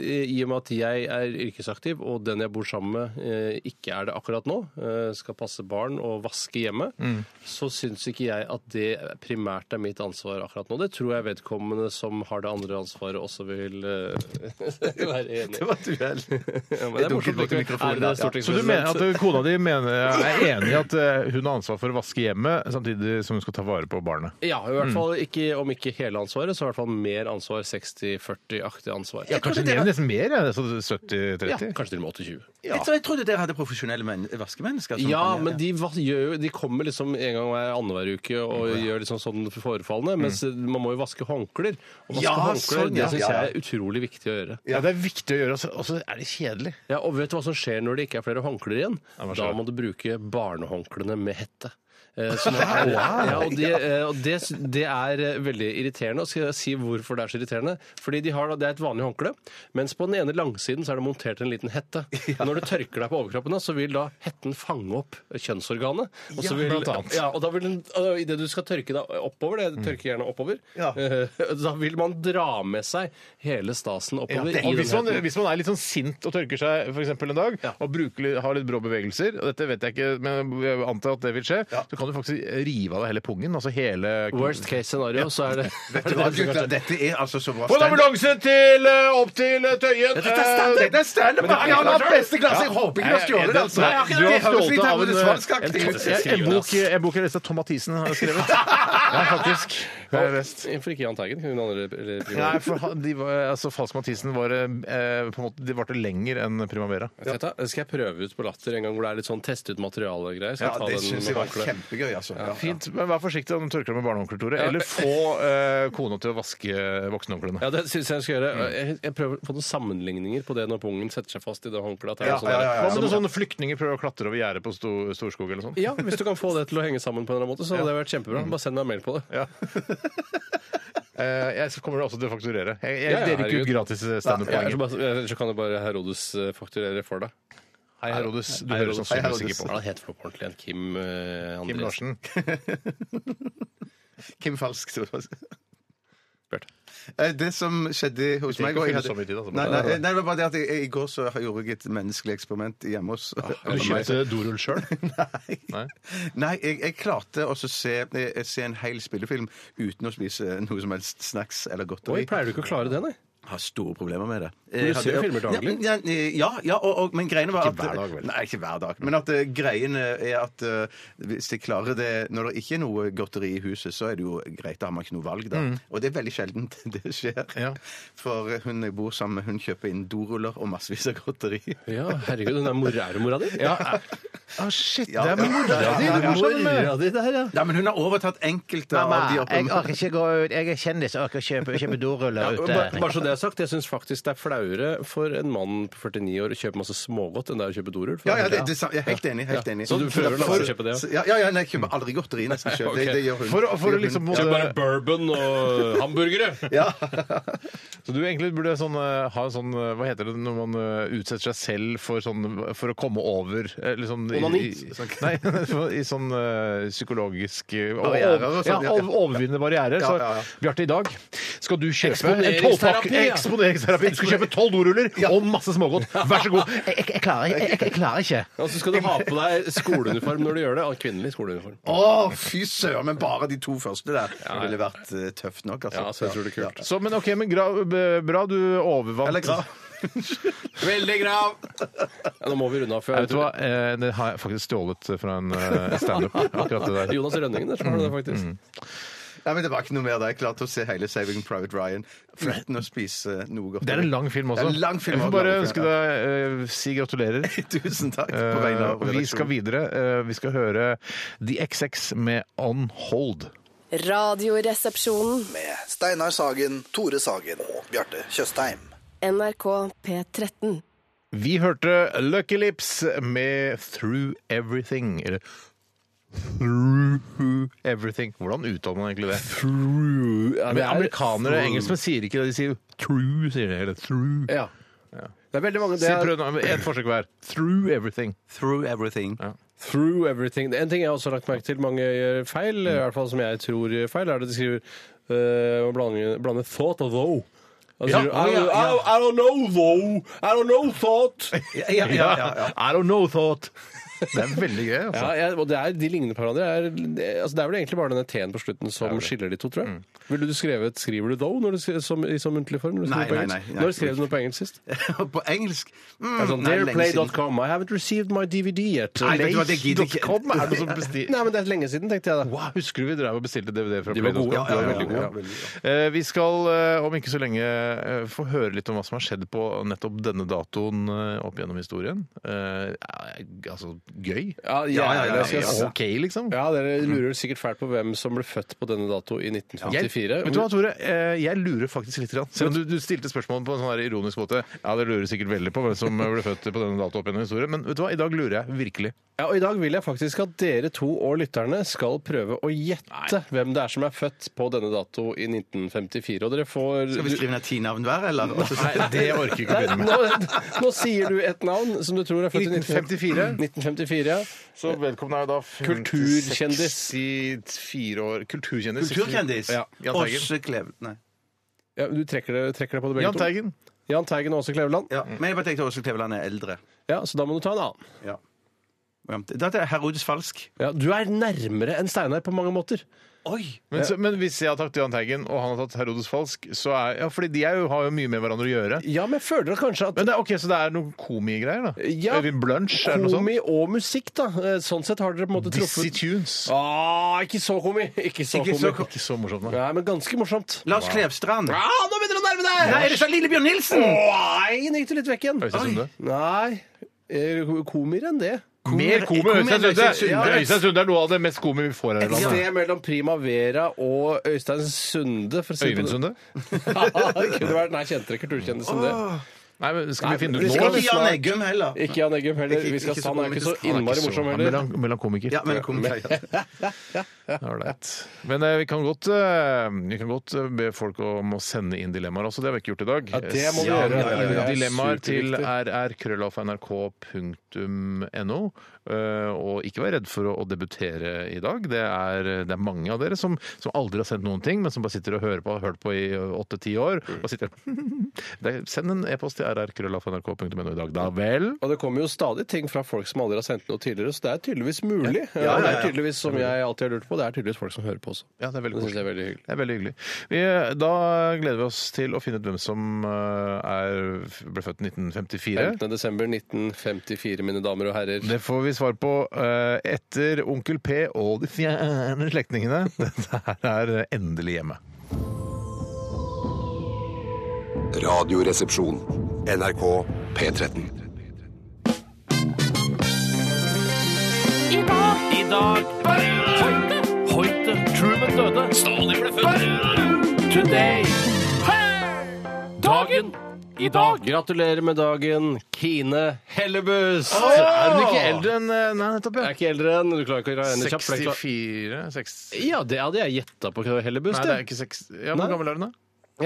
eh, i og med at jeg er yrkesaktiv, og den jeg bor sammen med eh, ikke er det akkurat nå, eh, skal passe barn og vaske hjemme, Mm. så syns ikke jeg at det primært er mitt ansvar akkurat nå. Det tror jeg vedkommende som har det andre ansvaret også vil eh, være enig i. Det var et uhell. Ja, men det Jeg er dunket morsomt. bort i likevel. mikrofonen Er det der, ja. Så du mener stortingspresident? at kona di mener, er enig i at eh, hun har ansvar for å vaske hjemmet, samtidig som hun skal ta vare på barnet? Ja, i Mm. hvert fall ikke, om ikke hele ansvaret, så i hvert fall mer ansvar. 60-40-aktig ansvar. Ja, kanskje det er nesten mer, ja, altså, så Ja, 70-30? kanskje til og med 28. Jeg tror- Jeg trodde dere hadde profesjonelle men vaskemennesker. som- Ja, men de, va- gjør, jo- de kommer liksom en gang hver annenhver uke og gjør liksom sånn forefallende. Mens man må jo vaske håndklær. Og vaske Mm. Ja, håndklær, sånn, det ja. syns Ja, ja. jeg er utrolig viktig å gjøre. Ja, det er viktig å gjøre, altså. og så er det kjedelig. Ja, og vet du hva som skjer når det ikke er flere håndklær igjen? hva skjer da da? må du bruke barnehåndklærne med hette. Eh, så nå er- ja, og det, eh, og det, s- det er eh, veldig irriterende. Og skal jeg si hvorfor det er så irriterende? Fordi de har, da- Det er et vanlig håndkle, mens på den ene langsiden så er det montert en liten hette. Når du tørker deg på overkroppen, da, så vil da hetten fange opp kjønnsorganet. Og så Ja, vil, blant annet. Mm. Ja, og da vil den, og i det du skal tørke deg oppover, det tørker gjerne oppover, Ja. eh, da vil man dra med seg hele stasen oppover. i og den hvis man, hetten. hvis man er litt sånn sint og tørker seg for eksempel en dag, Ja. og bruker, litt- har litt brå bevegelser, og dette vet jeg ikke, men jeg antar at det vil skje, så kan du faktisk rive av deg hele pungen, altså hele Worst case scenario, så er det Vet du hva, gutter, dette er altså så bra. Få en standup. ambulanse til, eh, opp til eh, Tøyen! Dette er standup, dette er standup! Men det er Jeg har hatt klart. beste klasse! Jeg håper ikke du har Nei, stjålet det, altså. Nei, du har Det høres stjålet av litt en, hermetisvalskaktig ut. eh, en, en, bok, en bok jeg leste av Tom Mathisen har skrevet. Ja, faktisk. Det er best. Hvorfor ikke Jahn Teigen? Hun andre eller primære. Eh, Nei, for han- de var, altså, Falsk Mathisen var eh, på en måte, de varte lenger enn Primavera. Vet du hva? Skal jeg prøve ut på Latter en gang hvor det er litt sånn teste ut materiale og greier? Skal Ja, jeg ta det den med syns jeg var håndkle? kjempegøy, altså. Ja, ja. Fint, men Vær forsiktig om du tørker deg med barnehåndklær, Tore. Eller få eh, kona til å vaske voksenhåndklærne. Ja, det syns jeg jeg skal gjøre. Mm. Jeg, jeg prøver å få noen sammenligninger på det når pungen setter seg fast i det håndkleet. at det er Ja, noe sånn ja, der- ja, Hva med noen sånne flyktninger prøver å klatre over gjerdet på Sto- Storskog eller sånn? Ja, hvis du kan få det til å henge sammen på en eller annen måte, så hadde det vært kjempebra. Mm. Bare send meg en mail på det. Eh, jeg kommer også til å fakturere. Jeg, jeg Ja, ja, deler ikke ut herregud. gratis Ja, standup-poeng. ellers så, bare, ellers så kan jo bare Herodes eh, fakturere for deg. Hei, Herodes. Du Hei, hører Herodes. sannsynligvis Hva ikke på. er det han heter for noe på ordentlig? En Kim eh, Kim Andreassen? Larsen. Kim Falsk. tror jeg. Bjarte. Eh, Det som skjedde hos trenger meg ikke og jeg fylle hadde- så mye tid, altså, Nei, bare- nei, nei, det var bare det at jeg, i går så gjorde jeg et menneskelig eksperiment hjemme hos Ah, Du kjøpte dorull sjøl? Nei. Nei, jeg, jeg klarte også å se, eh, se en hel spillefilm uten å spise noe som helst snacks eller Oi, godteri. pleier du ikke å klare det, nei? har store problemer med det. du Jeg ser jo hadde- filmer daglig. Ja, men- ja, ja, ja og, og, men greiene var Ikke hver at dag, vel? Nei, ikke hver dag. Men at eh, greiene er at eh, hvis jeg klarer det når det ikke er noe godteri i huset, så er det jo greit, da har man ikke noe valg, da. Og det er veldig sjelden det skjer. Mm. Ja. For eh, hun jeg bor sammen med, hun kjøper inn doruller og massevis av godteri. Ja, herregud, den er mor- er det mora di? Ja. Ah, shit, Ja, det er ja, med mora ja, di ja, du ja. bor sammen med! Mora di der, ja. Nei, men hun har overtatt enkelte av de oppe. ikke gå ut. Jeg er kjendis og orker kjøpe, kjøpe doruller Ja, bare, bare så det er sagt, jeg syns faktisk det er flauere for en mann på 49 år å kjøpe masse smågodt enn det er å kjøpe dorull. for Ja, ja, det er det, det, sa- jeg er helt enig. Helt enig. Så du prøver å la være å kjøpe det, ja? Så- Ja, ja, ja nei, jeg kjøper aldri godteri nesten sjøl. Det, det gjør hun. For, å- for å Det gjør liksom hun. Kjøp bare både, bourbon og hamburgere! Ja. Så du egentlig burde sånn, eh, ha en sånn eh, Hva heter det når man eh, utsetter seg selv for, sånn, for å komme over eh, eller sånn, i- Onani. i- Nei, for- i sånn eh, psykologisk eh, Barrierer og sånn, Ja, ja, ja. ov- overvinne barrierer. Så Ja, ja, ja. Bjarte, i dag skal du kjøpe en Eksponeringsterapi, tolvpakke ja. Eksponeringsterapi! Du skal kjøpe tolv doruller og masse smågodt! Vær så god! Jeg, jeg, jeg, klarer, jeg, jeg, jeg klarer ikke. Og så skal du ha på deg skoleuniform når du gjør det. ah, Kvinnelig skoleuniform. Å, fy søren! Men bare de to første der ville vært eh, tøft nok, altså. Ja, så jeg tror det er kult. Ja. Så, men ok, men gra, b- bra du overvant Eller gra. Veldig grav! Ja, nå må vi runde av. Jeg før vet du hva, eh, det har jeg faktisk stjålet fra en eh, standup. Akkurat det der. Jonas Rønningen, der svarer du det faktisk. Nei, men Det var ikke noe mer der. Jeg klarte å se hele Saving Private Ryan uten å spise noe godt. Det er en lang film også. Det er en lang jeg film får også. bare ønske deg eh, Si gratulerer. Tusen takk på vegne av Eh, vi skal redaksjonen. videre. Eh, vi skal høre The XX med On Hold. Radioresepsjonen. med Steinar Sagen, Tore Sagen og Bjarte Tjøstheim. NRK P13. Vi hørte Lucky Lips med Through Everything. Eller Through Everything. Hvordan uttaler man egentlig det? Through. Ja, Men det er- amerikanere og engelskmenn sier ikke det. De sier true, sier de. Eller through. Ja. Det er veldig mange det Si, er prøv nå, et forsøk hver. Through everything. Through everything. Through everything. En ting jeg også har lagt merke til mange gjør feil, i hvert fall som jeg tror gjør feil, er at de skriver uh, blander, blander thought og though. Altså, Ja, I, ja, don't- I, ja. don't- I don't know though. I don't know thought. Ja, ja, ja, ja. I don't know thought. Det er veldig gøy, altså. Ja, jeg, og det er, de ligner på hverandre. Det Er, det, altså, det er vel egentlig bare denne T-en på slutten som skiller de to, tror jeg. Mm. Ville du skrevet Skriver du though når du skriver, som, i som muntlig form? Når du Nei, skriver på nei, engelsk? nei, nei. Når skrev du noe på engelsk sist? På engelsk mm, Altså, nei, lenge siden. Dearplay.com. I haven't received my DVD yet. Nei, vet du hva, det gidder ikke. Kom, er det noe som bestil... Nei, men det er lenge siden, tenkte jeg da. Wow, husker du vi drev og bestilte DVD fra De var gode, ja, ja, Play.com? De var ja, veldig ja, gode. Eh, Vi skal eh, om ikke så lenge eh, få høre litt om hva som har skjedd på nettopp denne datoen eh, opp gjennom historien. Eh, eh, Altså gøy. Ja, ja, ja, ja, det skal jeg si. OK, liksom. ja, Dere lurer sikkert fælt på hvem som ble født på denne dato i Jeg, 1954. vet du hva, Tore? Eh, Jeg lurer faktisk litt. Grann. Selv om du, du stilte spørsmålet på en sånn her ironisk måte. Ja, dere lurer sikkert veldig på hvem som ble født på denne datoen opp gjennom historien, men vet du hva, i dag lurer jeg virkelig. Ja, og I dag vil jeg faktisk at dere to og lytterne skal prøve å gjette hvem det er som er født på denne dato i 1954. Og dere får Skal vi skrive ned ti navn hver, eller? Nei, det orker vi ikke å begynne med. nå, nå sier du et navn som du tror er født i 1954. 1954. 1954 ja. Så vedkommende er da Eh, Kulturkjendis. 64 år. Kulturkjendis. Kulturkjendis. Ja, Jahn Teigen. Åse Klev... Nei. Ja, du trekker det, trekker det på det begge Jahn Teigen. to. Jan Teigen og Åse Kleveland. Ja. Men jeg bare tenkte Åse Kleveland er eldre. Ja, så da må du ta en annen. Ja. Ja, Da er det Herodes Falsk. Ja, du er nærmere enn Steinar på mange måter. Oi! Men, så, men hvis jeg har tatt Jahn Teigen, og han har tatt Herodes Falsk, så er Ja, fordi de er jo, har jo mye med hverandre å gjøre. Ja, men jeg føler kanskje at Men det er, ok, Så det er noen komigreier, da? Ja. Øyvind Blunch, er det noe sånt? komi og musikk, da. Eh, Sånn sett har dere på en måte Dizzie truffet Tunes. Ah, ikke så komi! Ikke så Ikke så komi. Ikke så morsomt, da. Nei, men ganske morsomt. Lars Klevstrand. Ah, nå begynner du å nærme deg! Nei, er det så Lillebjørn Nilsen? Nei, nå gikk du litt vekk igjen. Høres ut som det. Nei, eh, komier enn det. Mer komi enn Øystein Øystein Sunde! Ja, Øystein Sunde er noe av det mest komi vi får her i Et landet. sted mellom Prima Vera og Øystein Sunde. For å si det på Øyvind den- Sunde? Ja, det kunne vært, nei, kjente dere kulturkjendisen det? Nei, men Skal Nei, vi finne vi ut skal nå? Ikke eller? Jan Eggum heller. Ikke Jan Eggum heller. Ikke- Vi skal ikke så han er ikke så komisk. innmari Så, morsom han er heller. melan- Melankomiker. Ja, men kom deg. Alright. Men eh, vi kan godt, eh, vi kan godt eh, be folk om å sende inn dilemmaer også. Det har vi ikke gjort i dag. Ja, det må vi Send gjøre. inn Ja, ja, ja. Dilemmaer til Superviktig. rrkrøllalfa.nrk.no. eh, Og ikke vær redd for å, å debutere i dag. Det er, det er mange av dere som, som aldri har sendt noen ting, men som bare sitter og hører på, har hørt på i eh, åtte-ti år. Og sitter Det er- Send en e-post til rrkrøllalfa.nrk.no i dag, da vel. Og det kommer jo stadig ting fra folk som aldri har sendt noe tidligere, så det er tydeligvis mulig. Ja, Det er tydeligvis, som jeg alltid har lurt på, det er tydeligvis folk som hører på også. Ja, det er veldig Det synes jeg er koselig. veldig hyggelig. Det er veldig hyggelig. Vi, da gleder vi oss til å finne ut hvem som eh, er, ble født i 1954. 15. desember 1954, mine damer og herrer. Det får vi svar på eh, etter Onkel P og de fjerne slektningene. Dette her er endelig hjemme. Radioresepsjon. NRK P13. I dag Hoite Hoite Truman døde Stalin ble født Today Dagen I dag Gratulerer med dagen, Kine Hellebust! Er hun ikke eldre enn eh, Nei, nettopp, Jeg er ikke eldre enn Du klarer ikke å regne kjapt. for jeg klarer- 64 seks... Ja, det hadde jeg gjetta på Hellebust. Nei, det er jeg. ikke seks... Ja, Hvor Nei. gammel er hun, da?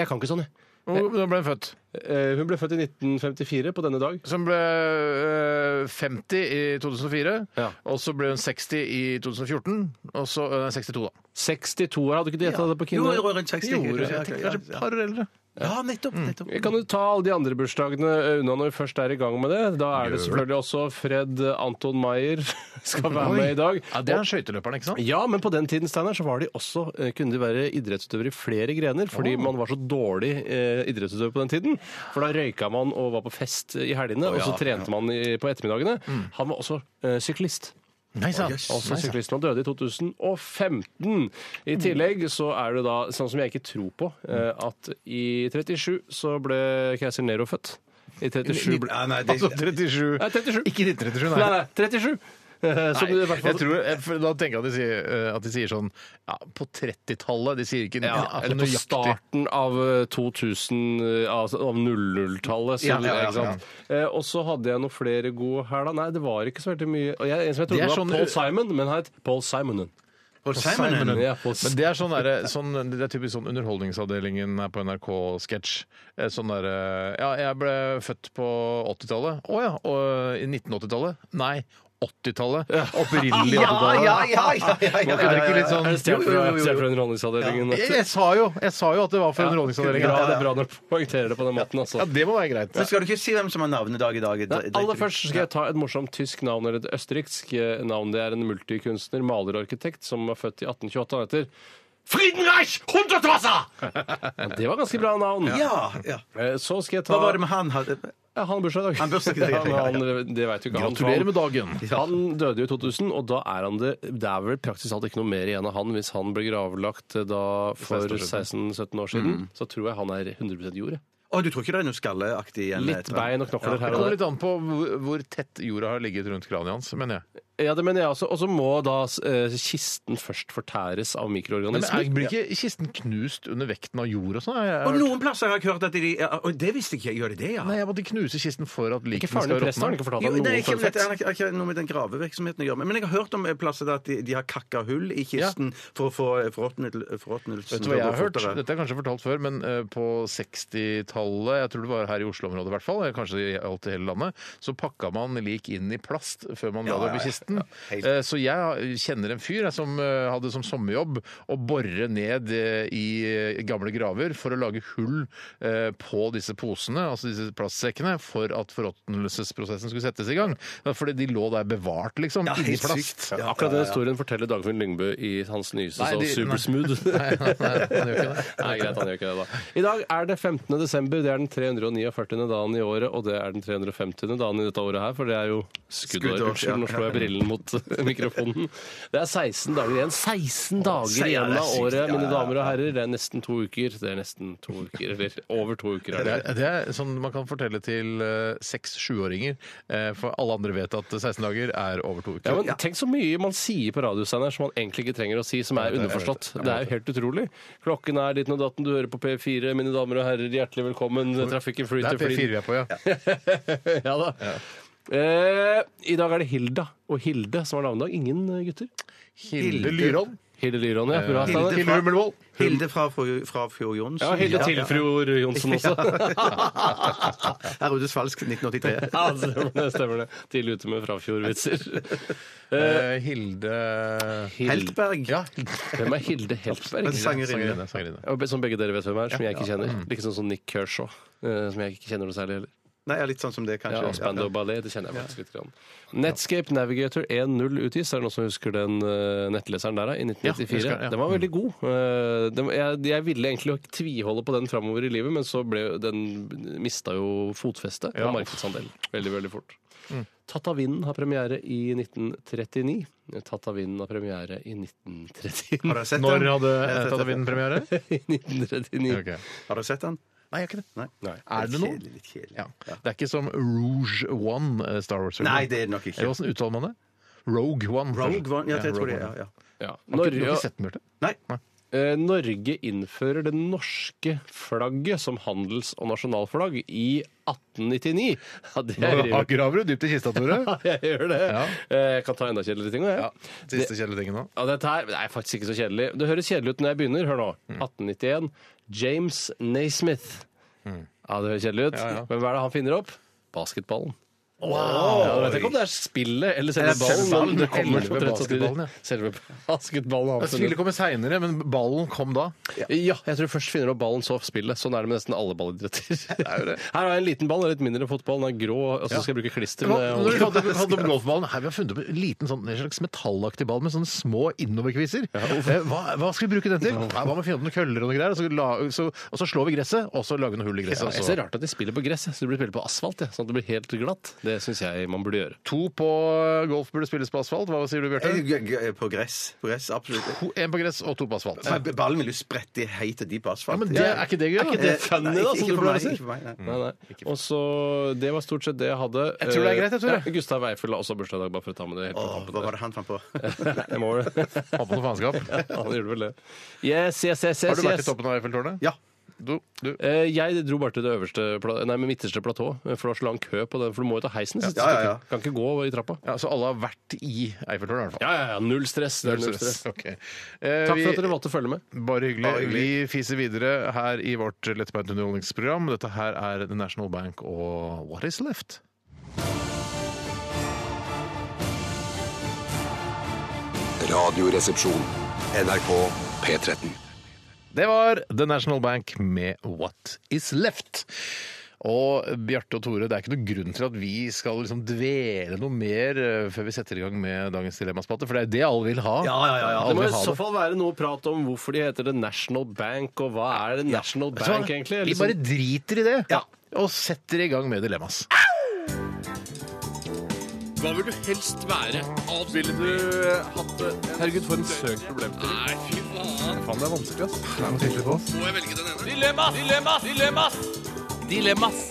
Jeg kan ikke sånn, jeg. Hvor da ble hun født? Eh, Hun ble født i 1954 på denne dag. Som ble eh, 50 i 2004, Ja. og så ble hun 60 i 2014, og så eh, 62, da. 62 år, hadde du ikke gjetta det på Jo, Kinder? rundt 60. Gjorde Ja, jeg tenker kanskje et ja, par eldre. ja. ja, nettopp. nettopp. Mm. Kan du ta alle de andre bursdagene unna når vi først er i gang med det? Da er det selvfølgelig også Fred eh, Anton Maier skal være med i dag. Ja, det er skøyteløperen, ikke sant? Ja, men på den tiden Steiner, så var de også, eh, kunne de være idrettsutøvere i flere grener, fordi man var så dårlig eh, idrettsutøver på den tiden. For da røyka man og var på fest i helgene, og så trente man i, på ettermiddagene. Mm. Han var også eh, syklist. Nei sant. Også Nei, sant. syklisten. Han døde i 2015. I tillegg så er det da, sånn som jeg ikke tror på, eh, at i 37 så ble keiser Nero født. I 37 ble Ja, nei, det, Altså 37 Nei, 37. Ikke 1937, Nei, nei. nei, 37! Eh, Som du i Nei, hvert jeg fall tror, jeg, for da tenker jeg at de sier, eh, at de sier sånn ja, på 30-tallet. De sier ikke Ja, altså eller på nøyaktig. starten av eh, 2000, eh, altså av 00-tallet. Ja, Ja, ja, ja, Eh, Og så hadde jeg noen flere gode her, da. Nei, det var ikke så veldig mye. Og jeg, en som jeg Det er trodde var sånn- Paul Simon, men han het Paul Simonen. Paul Simon, Simon. Ja, Paul Men det er, sånn derre- sånn, det er typisk sånn Underholdningsavdelingen her på NRK-sketsj. Eh, Sånn derre Ja, jeg ble født på 80-tallet. Å ja. Og eh, i 1980-tallet? Nei. 80-tallet. Opprinnelig 80-tallet. ja, ja, ja, ja, ja, Var ikke det ja, ikke ja, litt ja. sånn Er det stjålet Jo, jo, fra, jo, jo. stjålet fra Underholdningsavdelingen? jeg, jeg, sa jo, jeg sa jo at det var for Underholdningsavdelingen. Bra, Ja, det er bra når du poengterer det på den måten, altså. det må være greit. Men skal du ikke si hvem som har navnedag i dag? Nei, aller først skal jeg ta et morsomt tysk navn, eller et østerriksk eh, navn. Det er en multikunstner, maler og arkitekt, som var født i 1828. Han heter Friedenreich Hundertwasser! Ja, det var ganske bra navn. Ja, ja. Eh, Så skal jeg ta Hva var det med han hadde Ja, Han har bursdag i dag. Han har bursdag i dag, Ja, men ja, ja. han- det vet du ikke. han. Gratulerer med dagen. Han døde jo i 2000, og da er han det Det er vel praktisk talt ikke noe mer igjen av han hvis han ble gravlagt eh, da for 16-17 år siden. Mm. Så tror jeg han er 100 jord. jeg. Å, du tror ikke det er noe skalleaktig igjen? Litt etter han? bein og knokler Det her og kommer der. litt an på hvor, hvor tett jorda har ligget rundt kraniet hans, mener jeg. Ja, det mener jeg også. Og så må da eh, kisten først fortæres av Men mikroorganismer. er, blir ikke kisten knust under vekten av jord og sånn? Jeg- jeg- Og noen plasser har jeg hørt at de ja, Og det visste ikke jeg. Gjør de det, ja? Nei, jeg måtte knuse kisten for at Ikke likene faren skal din presten har råtne. ikke fortalt Jo, deg nei, noe ikke, fun vet, fact. jeg, jeg har ikke noe med den gravevirksomheten å gjøre. Men jeg har hørt om plasser der at de, de har kakka hull i kisten for å få forråtnelsen Vet du hva jeg har hørt? Dette er kanskje fortalt før, men eh, på 60-tallet, jeg tror det var her i Oslo-området i hvert fall, eh, kanskje i alt i hele landet, så pakka man lik inn i plast før man la det opp i kisten. Eh, Så jeg har- kjenner en fyr jeg, som eh, hadde som sommerjobb å bore ned eh, i eh, gamle graver for å lage hull eh, på disse posene, altså disse plastsekkene, for at forråtnelsesprosessen skulle settes i gang. Ja, Fordi de lå der bevart, liksom, inni helt plast. sykt. Ja, Akkurat den historien forteller Dagfinn Lyngbø i hans nyeste Nei, show de- nei. Supersmooth. Nei, nei, nei, han gjør ikke det. Nei, greit, han gjør ikke det da. I dag er det 15. desember. Det er den 349. dagen i året, og det er den 350. dagen i dette året her, for det er jo skuddår. Skuddår, ja. Unnskyld, nå slår jeg brillen mot mikrofonen. Det er 16 dager igjen. 16 Se, ja, dager det er igjen av sykt. Ja, året, ja, mine ja. damer og herrer. Det er nesten to uker. Det er nesten to uker, eller over to uker. Det Er det. er, det er sånn man kan fortelle til eh, seks-sjuåringer, eh, for alle andre vet at 16 dager er over to uker. Ja, men Tenk så mye man sier på radio Steinar, som man egentlig ikke trenger å si, som er Jeg vet det, jeg underforstått. vet det, jeg Det er jo helt utrolig. Klokken er ditt og datten, du hører på P4. Mine damer og herrer, hjertelig velkommen. Trafikken det flyter. er P4 vi er på, ja. fordi- ja da. Eh, I dag er det Hilda og Hilde som har navnedag. Ingen eh, gutter. Hilde Lyrån. Hilde Lyron, ja. Bra, Steinar. Eh, Hilde Hummelvoll. Hilde fra, Fro- fra Fjord Jonsson. Ja, Hilde Tilfror Johnsen også. Herudes Falsk 1983. Ja, det stemmer det. stemmer det. Tidlig ute med frafjordvitser. Eh, Hilde Heltberg. Ja, Hvem er Hilde Heltberg? Sangerinne. sangerinne. Ja, Som begge dere vet hvem er, som jeg ikke kjenner. Like sånn som Nick Kershaw, eh, som jeg ikke kjenner noe særlig heller. Nei, jeg er litt sånn som det, Ja, og kanskje. Spandau Ballet, det kjenner jeg faktisk litt. Grann. Netscape Navigator 1.0 utgis. Er det noen som husker den eh, nettleseren der, da? I Ja, jeg 1994. husker den, ja. Mm. Den var veldig god. Eh, den, jeg, jeg ville egentlig ikke tviholde på den framover i livet, men så ble den mista jo fotfeste og markedsandel veldig, veldig fort. Mm. Tatt av vinden har premiere i 1939. Tatt av vinden har premiere i 1939. Har dere sett Når den? hadde Jeg har sett den. Tatavinden-premiere? I 1939. Ok. Har dere sett den? Nei, jeg har ikke det. Nei. Er det noe? Kjedelig, litt kjedelig. Ja. Det er ikke som Rouge One eh, Star Wars. Nei, det er det nok ikke. Eller Hvordan uttaler man det? Rogue One. Rogue One. Ja, Rogue jeg tror det. Ja, One. ja. Ja. Har ikke- Du har Norge, ikke sett den, Bjarte? Nei. Eh, Norge innfører det norske flagget som handels- og nasjonalflagg i 1899. Ja, det er Nå graver du dypt i kista, Tore. jeg gjør det. Ja. Eh, Jeg kan ta enda kjedeligere ting. Ja, Ja. Siste kjedelige tingen nå. Ja, dette her det er faktisk ikke så kjedelig. Det høres kjedelig ut når jeg begynner. Hør nå. Mm. 1891. James Naismith. Ja, det høres kjedelig ut. Mm. Ja, ja. Men hva er det han finner opp? Basketballen. Ja, jeg vet ikke om det er spillet eller selve Eller ballen. selve men ballen, det kommer selve omtrent samtidig. basketballen, ja. Selve basketballen. Ja, absolutt. Spillet kommer seinere, men ballen kom da. Ja, jeg tror først finner du opp ballen, så spillet. Sånn er det med nesten alle ballidretter. Her har jeg en liten ball, den er litt mindre enn fotball, den er grå, og så skal jeg bruke klister. Hva, men jeg når vi holder- hadde, hadde om golfballen, her, vi har funnet opp en liten sånn, en slags metallaktig ball med sånne små innoverkviser. Eh, Hva, hva skal vi bruke den til? Nei, hva med å finne opp noen køller og noe greier? Og så, la, så, og så slår vi gresset, og så lager vi noen hull i Ja, gresset. jeg og ser så. rart at de spiller på gress, jeg. så de blir spiller på asfalt, jeg, sånn at det blir helt glatt. Det syns jeg man burde gjøre. To på golf burde spilles på asfalt. Hva sier du, Eh, Bjarte? G- g- På gress. På gress, absolutt. To- En på gress og to på asfalt. Men Ballen vil jo sprette helt til de på asfalt. Ja, men det, er ikke det gøy, da? ikke det funny, da, som du pleier å si? Nei, nei. Og så, Det var stort sett det jeg hadde. eh, Jeg tror det er greit, jeg, Tore. Ja, Gustav Weifel har også bursdag i dag, bare for å ta med det helt på Åh, tampen hva der. var det han fant på? Jeg må det. Ha på noe faenskap. Han gjorde vel det. Yes, yes, yes, yes, Har du vært i yes. toppen av Eiffeltårnet? Ja. Du, du. Eh, Jeg dro bare til det øverste pla- nei, men midterste platå, eh, for det var så lang kø på den. For du må jo ta heisen. så Ja, ja, ja. du Kan ikke gå i trappa. Ja, så alle har vært i Eiffeltårnet, i hvert fall. Ja, ja, ja. Null stress. Det er null stress. Ok. Eh, Takk vi- for at dere valgte å følge med. Bare hyggelig. Bare hyggelig. Vi fiser videre her i vårt lettbeint underholdningsprogram. Dette her er The National Bank og What Is Left. Radioresepsjon. NRK P13. Det var The National Bank med What Is Left. Og Bjarte og Tore, det er ikke noen grunn til at vi skal liksom dvele noe mer eh, før vi setter i gang med dagens dilemmaspalte, for det er det alle vil ha. Ja, ja, ja, ja. Det Alle må i vil ha så fall være noe prat om hvorfor de heter The National Bank, og hva er The National Så Bank egentlig? Liksom- Vi bare driter i det Ja. og setter i gang med dilemmas. Hva vil du helst være? Ville du hatt det? Herregud, for en søk problemstilling. Nei, fy faen. Faen, det er vanskelig, ass. Det er noe tydelig på. Må jeg velge den ene? Dilemmas! Dilemmas! Dilemmas! Dilemmas!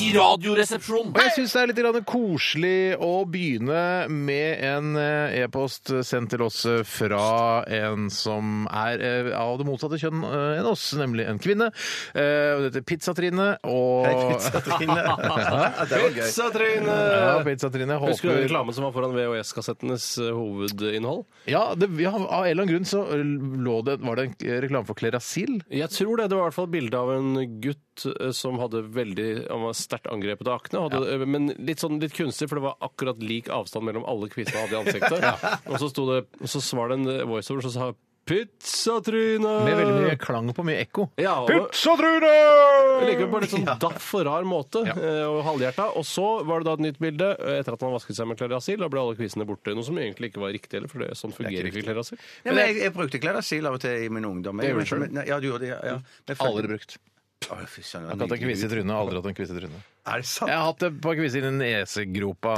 I radioresepsjonen. Og jeg syns det er litt grann koselig å begynne med en eh, e-post sendt til oss eh, fra en som er eh, av det motsatte kjønn eh, enn oss, nemlig en kvinne. Eh, og Det heter Pizzatrine. Og Ja, det var gøy. Pizzatrine! ja, Pizzatrine Husker du den håper reklamen som var foran VHS-kassettenes eh, hovedinnhold? ja, det, ja, Av en eller annen grunn så lå det, var det en reklame for Klerasil. Jeg tror det. Det var i hvert fall bilde av en gutt eh, som hadde veldig Han var sterkt angrepet av akne. Hadde, eh, Men litt, sånn, litt kunstig, for det var akkurat lik avstand mellom alle kvisene han hadde i ansiktet. Og så sto det Og så var det en eh, voiceover som sa 'Pizzatryne'! Med veldig Eh. mye klang på mye ekko. ja, og, Pizzatrine! Likevel på en litt sånn daff og rar måte. Ja. eh, Og halvhjerta. Og så var det da et nytt bilde eh, etter at han vasket seg med Klerasil. Da ble alle kvisene borte. Noe som egentlig ikke var riktig heller, for det, sånn fungerer ikke Klerasil. Ja, men jeg, jeg brukte Klerasil av og til i min ungdom. Jeg, Det gjorde du selv? Nei, ja, du gjorde det, ja, ja. Men jeg følte- Aldri brukt. Å, fy Jeg søren, det var har hatt en nydelig. kvise i trynet, aldri hatt en kvise i trynet. Er det sant? Jeg har hatt det på kvise i nesegropa.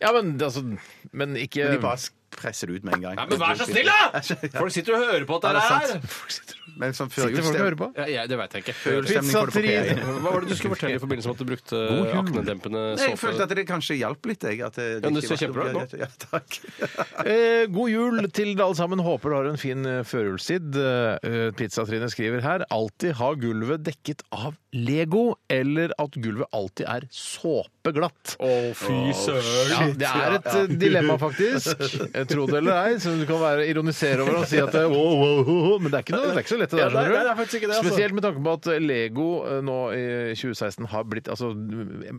Ja, men, altså, men ikke De bare presser det ut med en gang. Folk sitter og hører på at Ja, det er sant. Men som før Sitter folk og hører på? Ja, jeg, det veit jeg ikke. Julestemning får du på Pizzatrine. ferie. Hva var det du skulle fortelle i forbindelse med at du brukte jul. aknedempende Nei, jeg følte såpe? at det kanskje hjalp litt. Jeg, at eh, det, Ja, men ikke det ser kjempebra var- ut nå. Ja, takk. Eh, god jul til alle sammen. Håper du har en fin eh, førjulstid. Eh, Pizzatrine skriver her alltid ha gulvet dekket av Lego, eller at gulvet alltid er såpeglatt. Å, fy søren! Ja, det er et eh, dilemma, faktisk. Eh, Tro det eller ei, så du kan være ironisere over og si at eh, wow, wow, wow, wow, Men det er ikke, noe, det er ikke så lett, det Ja, der. nei, skjønner du. nei, det er faktisk ikke det, altså. Spesielt med tanke på at Lego eh, nå i 2016 har blitt altså,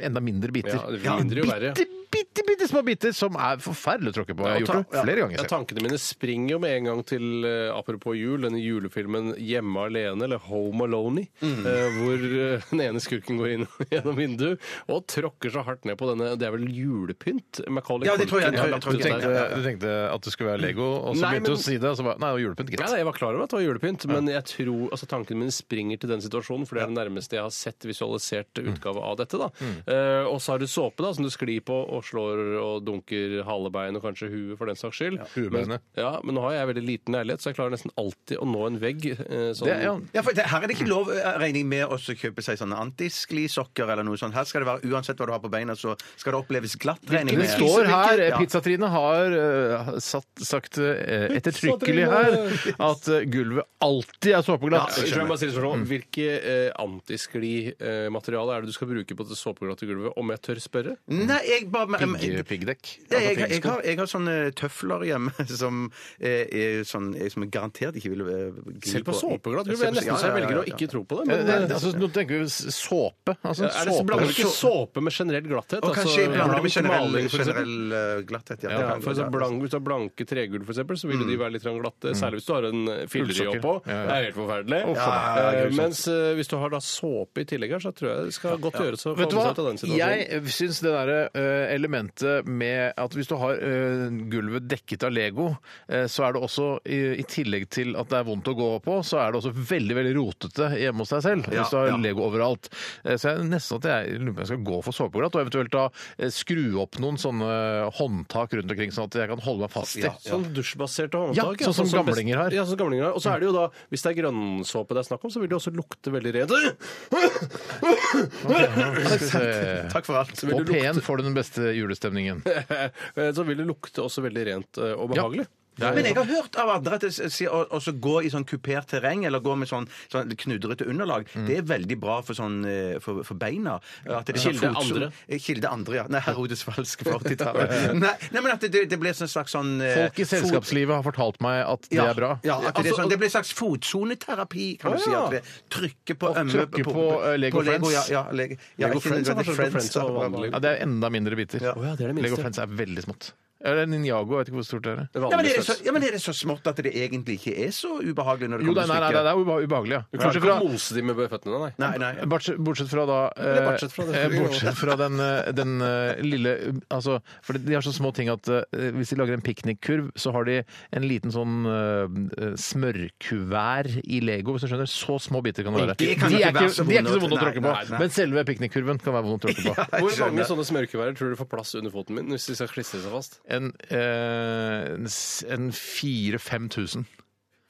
enda mindre biter. Ja, det blir mindre jo verre. Bitte, bitte, bitte små biter som er forferdelig å tråkke på. Jeg har Ja, gjort ta- det flere ganger Ja, selv. tankene mine springer jo med en gang til eh, apropos jul, denne julefilmen 'Hjemme alene' eller 'Home Alone', Mm. eh, hvor eh, den ene skurken går inn gjennom vinduet og tråkker så hardt ned på denne Det er vel julepynt? Macaulay Ja, det tror jeg- Culkin har jeg- lagt tror Du ut der. jeg- tenkte, du tenkte at det skulle være Lego, og så Nei, begynte men- du å si det, og så bare Nei, det var Ja, julepynt, gitt. da, jeg var klar over at det var julepynt, men jeg tror, altså, tankene mine springer til den situasjonen, for det er det nærmeste jeg har sett visualisert utgave av dette. Da. Eh, og så har du såpe da, som du sklir på og slår og dunker halebein og kanskje huet, for den saks skyld. huebeinet. men, ja, men nå har jeg veldig liten leilighet, så jeg klarer nesten alltid å nå en vegg. eh, sånn, Det- ja. Ja, for det, her er det ikke lov, eh, regner jeg med, å så kjøpe seg sånne antisklisokker eller noe sånt. Her skal det være, uansett hva du har på beina, så skal det oppleves glatt, regner jeg Det med. står her, eh, Ja. Pizzatrine har eh, satt, sagt eh, ettertrykkelig her Pizzatrine! at eh, gulvet alltid er såpeglatt. jeg tror jeg bare stiller spørsmål. Hvilke eh, antiskli-materiale er det du skal bruke på det såpeglatte gulvet, om jeg tør spørre? Nei, jeg bare... men- Pigg- Piggdekk. Ja, jeg, jeg, har, jeg har sånne tøfler hjemme som, eh, er sånn, jeg, som jeg garantert ikke vil eh, gli Selv på såpeglatt gulv? Jeg Ja, nesten så jeg ja, ja, velger å ja. ikke tro på det. Eh, Men, nei, altså, no- tenker vi s- såpe. Altså, Er det så blander du ikke såpe. såpe med generell glatthet? Altså, Og kanskje jeg blander med blank generell, maling, for eksempel? generell eh, glatthet. Ja, Ja, for eksempel, blank, hvis du har blanke tregulv, for eksempel, så vil jo de være litt grann glatte. Særlig hvis du har en fillerie Ullsokker. oppå. Ja, ja. Det er helt forferdelig. ja, ja, Eh, grusomt. Mens eh, hvis du har da såpe i tillegg her, så tror jeg det skal godt gjøres å Vet du komme seg ut av hva? den situasjonen. Jeg syns det derre eh, elementet med at hvis du har eh, gulvet dekket av Lego, eh, så er det også, i, i tillegg til at det er vondt å gå på, så er det også veldig veldig rotete hjemme hos deg selv. Ja, hvis du har ja. Lego overalt. Eh, så jeg nesten at jeg lurer på om jeg skal gå for såpeglatt, og eventuelt da eh, skru opp noen sånne håndtak rundt omkring, sånn at jeg kan holde meg fast i. Sånn dusjbaserte Ja, håndtak. sånn som best- gamlinger har. Ja, sånn som gamlinger har. Og så er det jo da, hvis det er grønnsåpe det er snakk om, så vil det også lukte veldig rent. Skal vi se. Takk for alt. Eh, På P1 får du den beste julestemningen. Eh, Så vil det lukte også veldig rent eh, og behagelig. Men jeg har hørt av andre at det s- sier å å så gå i sånn kupert terreng, eller gå med sånn, sånn knudrete underlag, Mm. det er veldig bra for, sånn, eh, for, for beina. At det er sånn Kilde fotsol- andre. Eh, Kilde andre, ja. Nei, Herodesvalsk for 80-tallet. Nei, nei, men at det, det blir sånn slags sånn eh, Folk i fot- selskapslivet har fortalt meg at det Ja, er bra. Altså, Ja, at det, er sånn, det blir en slags fotsoneterapi, kan du si. At vi trykker på ømme trykker på, eh, Lego Friends. Ja, ja, Lego, ja, Lego ikke sånn Friends er nødvendigvis forskjell på Friends og da. vanlig. Ja, det er enda mindre biter. Ja. Å ja, det er det minste. Lego Friends er veldig smått. Eller Ninjago, jeg vet ikke hvor stort det er. Det er Ja, men vanlig er det så, størrelse. ja, men er det så smått at det egentlig ikke er så ubehagelig når det Jo, nei, kommer nei, nei, til det er ubeha- ubehagelig, ja. Du kan Bortsett ikke fra, mose de med føttene, nei. Nei, nei. bortsett, bortsett fra da eh, bortsett fra det. eh, bortsett fra den, eh, den eh, lille eh, Altså, for de har så små ting at eh, hvis de lager en piknikkurv, så har de en liten sånn eh, smørkuvær i Lego, hvis du skjønner. Så små biter kan det være. De kan de, ikke er være så ikke, de er ikke så vonde å- vonde å tråkke på, Nei, nei. men selve piknikkurven kan være vond å tråkke på. Hvor mange skjønner. sånne smørkeværer tror du får plass under foten min hvis de skal klistre seg fast? En, eh, en s- en 4000-5000.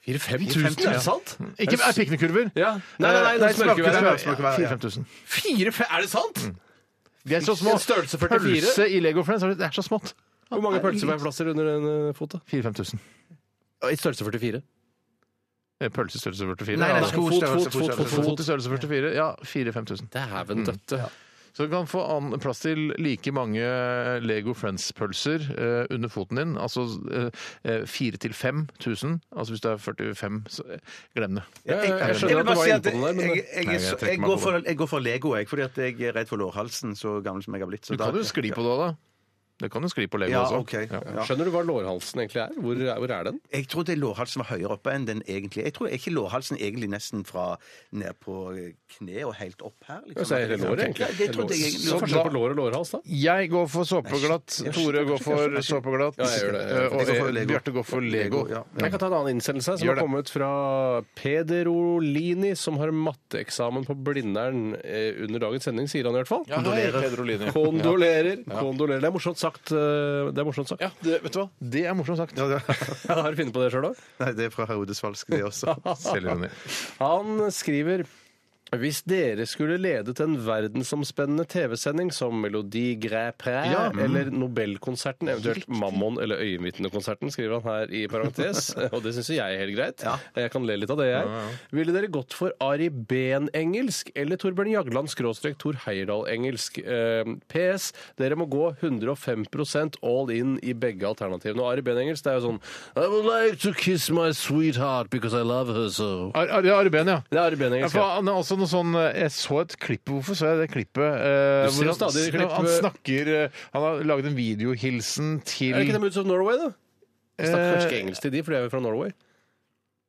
4000-5000, ja. sant? Ikke er piknikkurver! Ja. Nei, nei, nei, Nei, det er smørkevær. smørkevær. smørkevær, ja. 4000. Fire, fe- er det sant? De er så små. En størrelse 44. Pølse i Lego Friends, det er så smått. Hvor mange pølsebærplasser under en eh, fot? da? 4000-5000. I størrelse 44. Eh, Pølse i størrelse 44. Nei, ja. nei, sko, Fot, størrelse, fot, fot, fot, størrelse. fot, Fot i størrelse 44. Ja, 4000-5000. Dæven døtte. Så du kan få an plass til like mange eh, Lego Friends-pølser eh, under foten din. Altså eh, 4000-5000. Altså hvis det er 45, så eh, glem det. Ja, ja, jeg Jeg skjønner vil at du bare var si inne at på jeg, den der, men jeg, jeg, Nei, jeg så- trekker jeg, meg går på for, jeg går for Lego, jeg, fordi at jeg er redd for lårhalsen, så gammel som jeg har blitt. Så Du kan jo skli på det òg, da. Du kan jo skli på Lego Ja, også. ok. Ja. Skjønner du hva lårhalsen egentlig er? Hvor, er- hvor er den? Jeg trodde lårhalsen var høyere oppe enn den egentlig Jeg tror er ikke lårhalsen egentlig nesten fra ned på kne og helt opp her. Liksom. Så er det Altså, låret, Ja, egentlig. det trodde jeg Så egentlig. forskjell på lår og lårhals, da? Jeg går for såpeglatt. Tore går for såpeglatt. Ja, jeg gjør det. Jeg eh, går for Og eh, Lego. Bjarte går for Lego. ja. Jeg kan ta en annen innsendelse som Gjør har det. kommet fra Peder Olini, som har matteeksamen på Blindern eh, under dagens sending, sier han i hvert fall. Kondolerer. Peder Olini. Kondolerer. kondolerer. Det er morsomt sagt. eh, Det er morsomt sagt. Ja, det, vet du hva? Det er morsomt sagt. Har du funnet på det sjøl òg? Nei, det er fra Haudesvalsk, det også. Selvironi. Han skriver hvis dere skulle ledet en verdensomspennende TV-sending som Melodi Grand Prix eller Nobelkonserten, eventuelt Mammon eller Øyenvitnekonserten, skriver han her i parentes, og det syns jo jeg er helt greit. Jeg kan le litt av det, jeg. Ville dere gått for Ari Behn-engelsk eller Torbjørn Jagland skråstrek Tor Heyerdahl-engelsk? Eh, PS. Dere må gå 105 all in i begge alternativene. Og Ari Behn-engelsk det er jo sånn I would like to kiss my sweetheart because I love her so. Ar, ar, ja, Arben, ja. Det er Ari Behn-engelsk. for han er også noe sånn, eh, jeg så et klipp Hvorfor så jeg det klippet? eh, Du ser hvor han, stadig klipp- han snakker eh, Han har laget en videohilsen til Er det ikke det Moods of Norway, da? Jeg snakker kanskje ikke eh, engelsk til de, for de er jo fra Norway.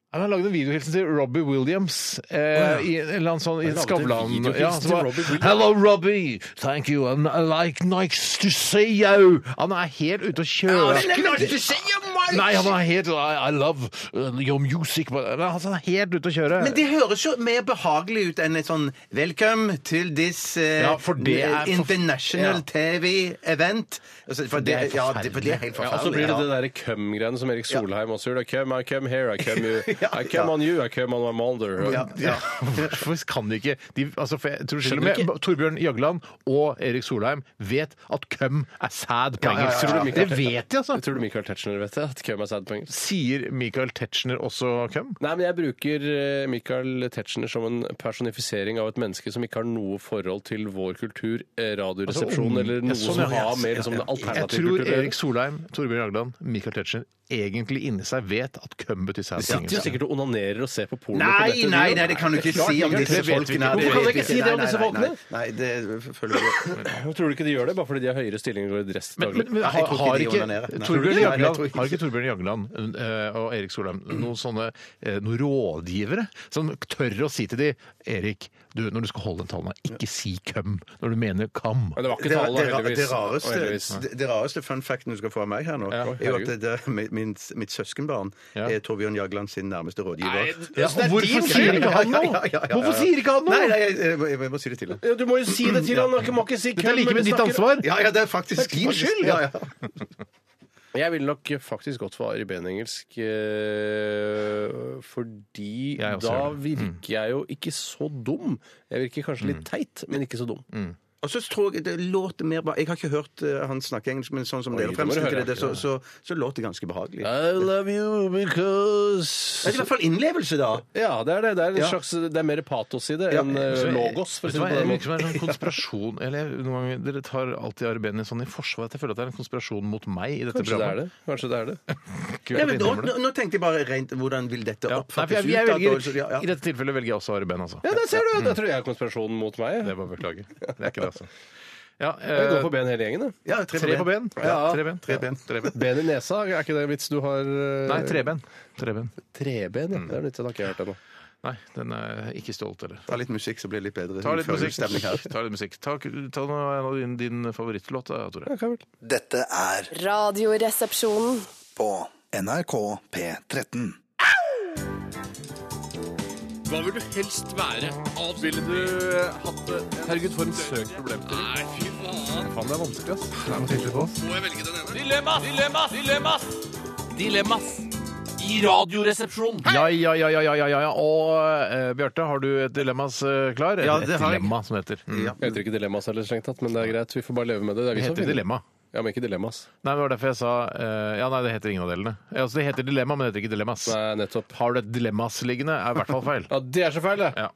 Han har laget en videohilsen til Robbie Williams eh, i en eller annen sånn i Han laget en Skavlan. videohilsen Ja, som til var, Robbie Williams. Hello, Robbie! Thank you, and I like nice to see you! Han er helt ute å kjøre. Nei, han er helt I, I love uh, your music but, men altså, Han er helt ute å kjøre. Men det høres jo mer behagelig ut enn et sånn 'Welcome to this eh, Ja, for det er for- international Ja. TV event'. Altså, for det, Det er ja, det, for det er helt Ja, og så blir forferdelig. det Ja, det derre cum-greiene som Erik Solheim også gjør. I come, I come here, I come you. I come ja. on you, I come on my mother. ja, ja. Hvorfor kan de ikke de, altså, for jeg tror Til og Skjønner med Torbjørn Jagland og Erik Solheim vet at cum er sad på engelsk. Tror du Michael- Det vet de, Jeg altså! tror du Michael Tetzschner vet det? At cum er sad på engelsk? Sier Michael Tetzschner også cum? Nei, men jeg bruker eh, Michael Tetzschner som en personifisering av et menneske som ikke har noe forhold til vår kultur, eh, Radioresepsjon, Altså, mm, eller ja, noe sånn, som ja. har med liksom, den Jeg alternative tror kulturen. Erik Solheim, Torbjørn Jagland, Michael Tetzschner egentlig inni seg vet at cum betyr sad på engelsk. sikkert og onanerer og ser på porno. på sånn. Nei, dette nei, videoen. nei, det kan du ikke klart si om ikke. disse Det vet vi ikke. folkene. Hvorfor kan du vet ikke vi si det om Nei, disse nei, folkene? Nei, nei, det følger Tror jeg. du ikke de gjør det bare fordi de har høyere stillinger og dress til Men, daglig? men, men Nei, har, jeg tror ikke har, de ikke, onanerer. Nei. Torbjørn Nei, jeg Jagland, tror ikke. har ikke Torbjørn Jagland eh, og Erik Solheim noen sånne eh, noen rådgivere som tør å si til de Erik, du, når du skal holde den talen, her, ikke si køm når du mener kam. Men det var Det, ikke ra- tale, det, da, ra- det, heldigvis. Og heldigvis. rareste, det, det rareste fun facten du skal få av meg her nå, Ja, er jo at herregud. det, det, mitt, mitt- mitt søskenbarn Ja. er Torbjørn Jagland sin nærmeste rådgiver. Ja, og hvorfor sier ikke han noe? Hvorfor sier ikke han noe? Nei, nei, jeg, jeg, må- jeg må si det til ham. Ja, Du må jo si det til han, han ikke- må ikke si Dette er likevel ditt ansvar. Ja, ja, det er faktisk din skyld! Ja, ja. Jeg ville nok faktisk gått for Ari Behn-engelsk, eh, fordi Jeg også da gjør det. Mm. virker jeg jo ikke så dum. Jeg virker kanskje litt teit, men ikke så dum. Mm. Og så tror jeg det låter mer bra Jeg har ikke hørt eh, han snakke engelsk, men sånn som dere det må du fremstiller høre. det, så, så, så låter det ganske behagelig. Det I love you because er i hvert fall innlevelse, da. Ja, det er det. Det er, en Ja. slags, det er mer patos i det Ja. enn eh, logos. For å Vet si det du hva, på jeg den måten. virker som en sånn konspirasjon eller jeg- noen ganger, Dere tar alltid Ari Behn i sånn i forsvar. At jeg føler at det er en konspirasjon mot meg i dette Kanskje det er programmet. det. Kanskje det er det. Kult Ja, at jeg men, nå, innrømmer det. nå, nå tenkte jeg bare rent Hvordan vil dette Ja. Nei, for oppfattes jeg, jeg utad, og så- velger, ja, ja. I dette tilfellet velger jeg også Ari Behn, altså. Ja, der ser du! Da tror jeg er konspirasjonen mot meg. Det er bare å beklage. Det er ikke det, altså. Ja, Jeg går eh, for ben hele gjengen, jeg. Ja, tre på ben. Ja. Tre ben. Tre ben. Tre ben. Ben i nesa, er ikke det en vits du har? eh, Nei, treben. Treben. Treben, ja. Det er nytt, den har ikke jeg hørt ennå. Nei, den er ikke stjålet heller. Ta litt musikk, så blir det litt bedre. Ta litt musikk. Følelsesstemning her. Ta, litt musikk. ta, ta nå en av din, din favorittlåt, da, Tore. Dette er Radioresepsjonen. på NRK P13. Hva vil du helst være? Ville du hatt det? Herregud, for en søk problemstilling. Nei, fy faen. Faen, det er vanskelig, ass. Må jeg velge den ene? Dilemmas! Dilemmas! Dilemmas! Dilemmas i Radioresepsjonen. Ja, ja, ja, ja, ja, ja, ja. Og eh, Bjarte, har du et dilemmas eh, klar? Ja, Et- det et har jeg. dilemma, som det heter. Mm. Ja. Jeg heter ikke Dilemmas heller, strengt tatt, men det er greit. Vi får bare leve med det. Det er Det vi som heter finner- dilemma. Ja, men ikke Dilemmas. Nei, det var derfor jeg sa eh, Ja, nei, det heter ingen av delene. Ja, Altså, det heter dilemma, men det heter ikke dilemmas. Nei, nettopp. Har du et dilemmas liggende, er i hvert fall feil. Ja, det er så feil, det! Ja.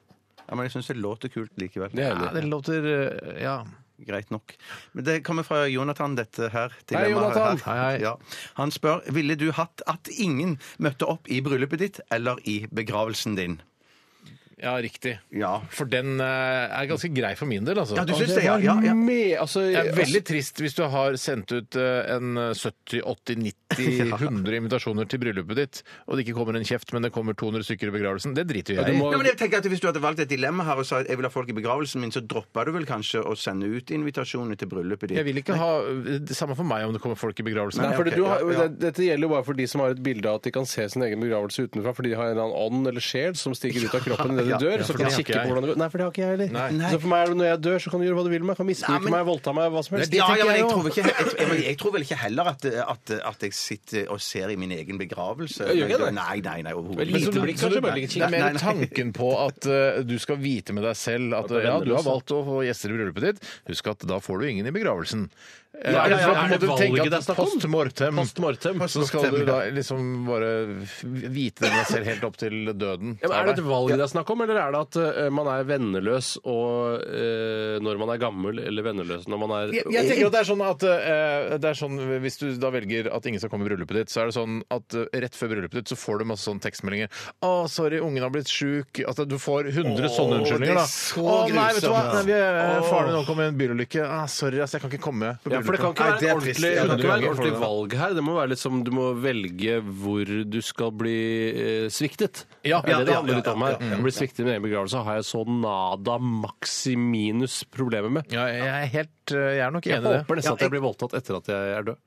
Ja, men jeg syns det låter kult likevel. Det er Ja, enig. det låter eh, Ja. Greit nok. Men det kommer fra Jonathan, dette her. dilemmaet Jonathan. Her. Hei, hei. Ja. Han spør ville du hatt at ingen møtte opp i bryllupet ditt eller i begravelsen din. Ja, riktig. Ja. For den eh, er ganske grei for min del, altså. Ja, du syns det, ja. ja, ja. Med, altså, Det er veldig trist hvis du har sendt ut eh, en 70-80-90-100 invitasjoner til bryllupet ditt, og det ikke kommer en kjeft, men det kommer 200 stykker i begravelsen. Det driter jo du jeg i. må- Ja, men jeg tenker at Hvis du hadde valgt et dilemma her og sa at jeg vil ha folk i begravelsen min, så droppa du vel kanskje å sende ut invitasjoner til bryllupet ditt? Jeg vil ikke ha eh, det samme for meg om det kommer folk i begravelsen. Nei, Nei, fordi ok, du har, ja, ja. det- Dette gjelder jo bare for de som har et bilde av at de kan se sin egen begravelse utenfra, fordi de har en eller annen ånd eller sjel som stiger ut av kroppen idet de Ja, dør. ja, så for kan det de har ikke kikke på jeg. hvordan det går. Nei, for det har ikke jeg heller. Nei. Så for meg er det når jeg dør, så kan du gjøre hva du vil med meg. Kan misbruke Nei, men- meg, voldta meg, hva som helst. Ja, ja, men jeg, jo. tror ikke, jeg, jeg, jeg tror vel ikke heller at, at, at jeg sitter og ser i min egen begravelse. gjør ikke det. Nei, nei, nei, overhodet Vel, ikke. lite du- blikk, så kanskje, du- bare litt kikk. det er Nei, mer nei. tanken på at eh, du skal vite med deg selv at eh, det er ja, du har venneløst, valgt å få gjester i bryllupet ditt. Husk at da får du ingen i begravelsen. Eh, ja, ja, for da er må det du tenke valget at det er snakk om? Post mortem. Så skal mortem, du ja. da liksom bare vite det med deg selv helt opp til døden. Ja, men er det et tar deg. valg det er snakk om, eller er det at eh, man er venneløs og, eh, når man er gammel, eller venneløs når man er Jeg, jeg tenker at det er sånn at eh, det er sånn, Hvis du da velger at ingen skal komme i bryllupet ditt, så er det sånn at eh, rett før bryllupet ditt så får du masse sånne tekstmeldinger. 'Å, sorry, ungen har blitt sjuk.' At du får 100 sånne unnskyldninger. da. det er så 'Å, nei, vet du hva, grusomt, nei, vi, eh, faren min omkom i en bilulykke. Ah, sorry, ass, jeg kan ikke komme på Ja, for det kan bryllupet.' ikke Nei, være, en ordentlig, det er trist. Ja, det kan ikke være det en er ordentlig det. valg her. Det må være litt som du må velge hvor du skal bli eh, sviktet. Ja, det er det det ja, handler litt om ja, Mm. her. Å bli sviktet i min egen begravelse har jeg så nada maximinus problemer med. Ja, jeg er helt eh, Jeg er nok Jeg enig i det. håper nesten at jeg blir voldtatt etter at jeg er død.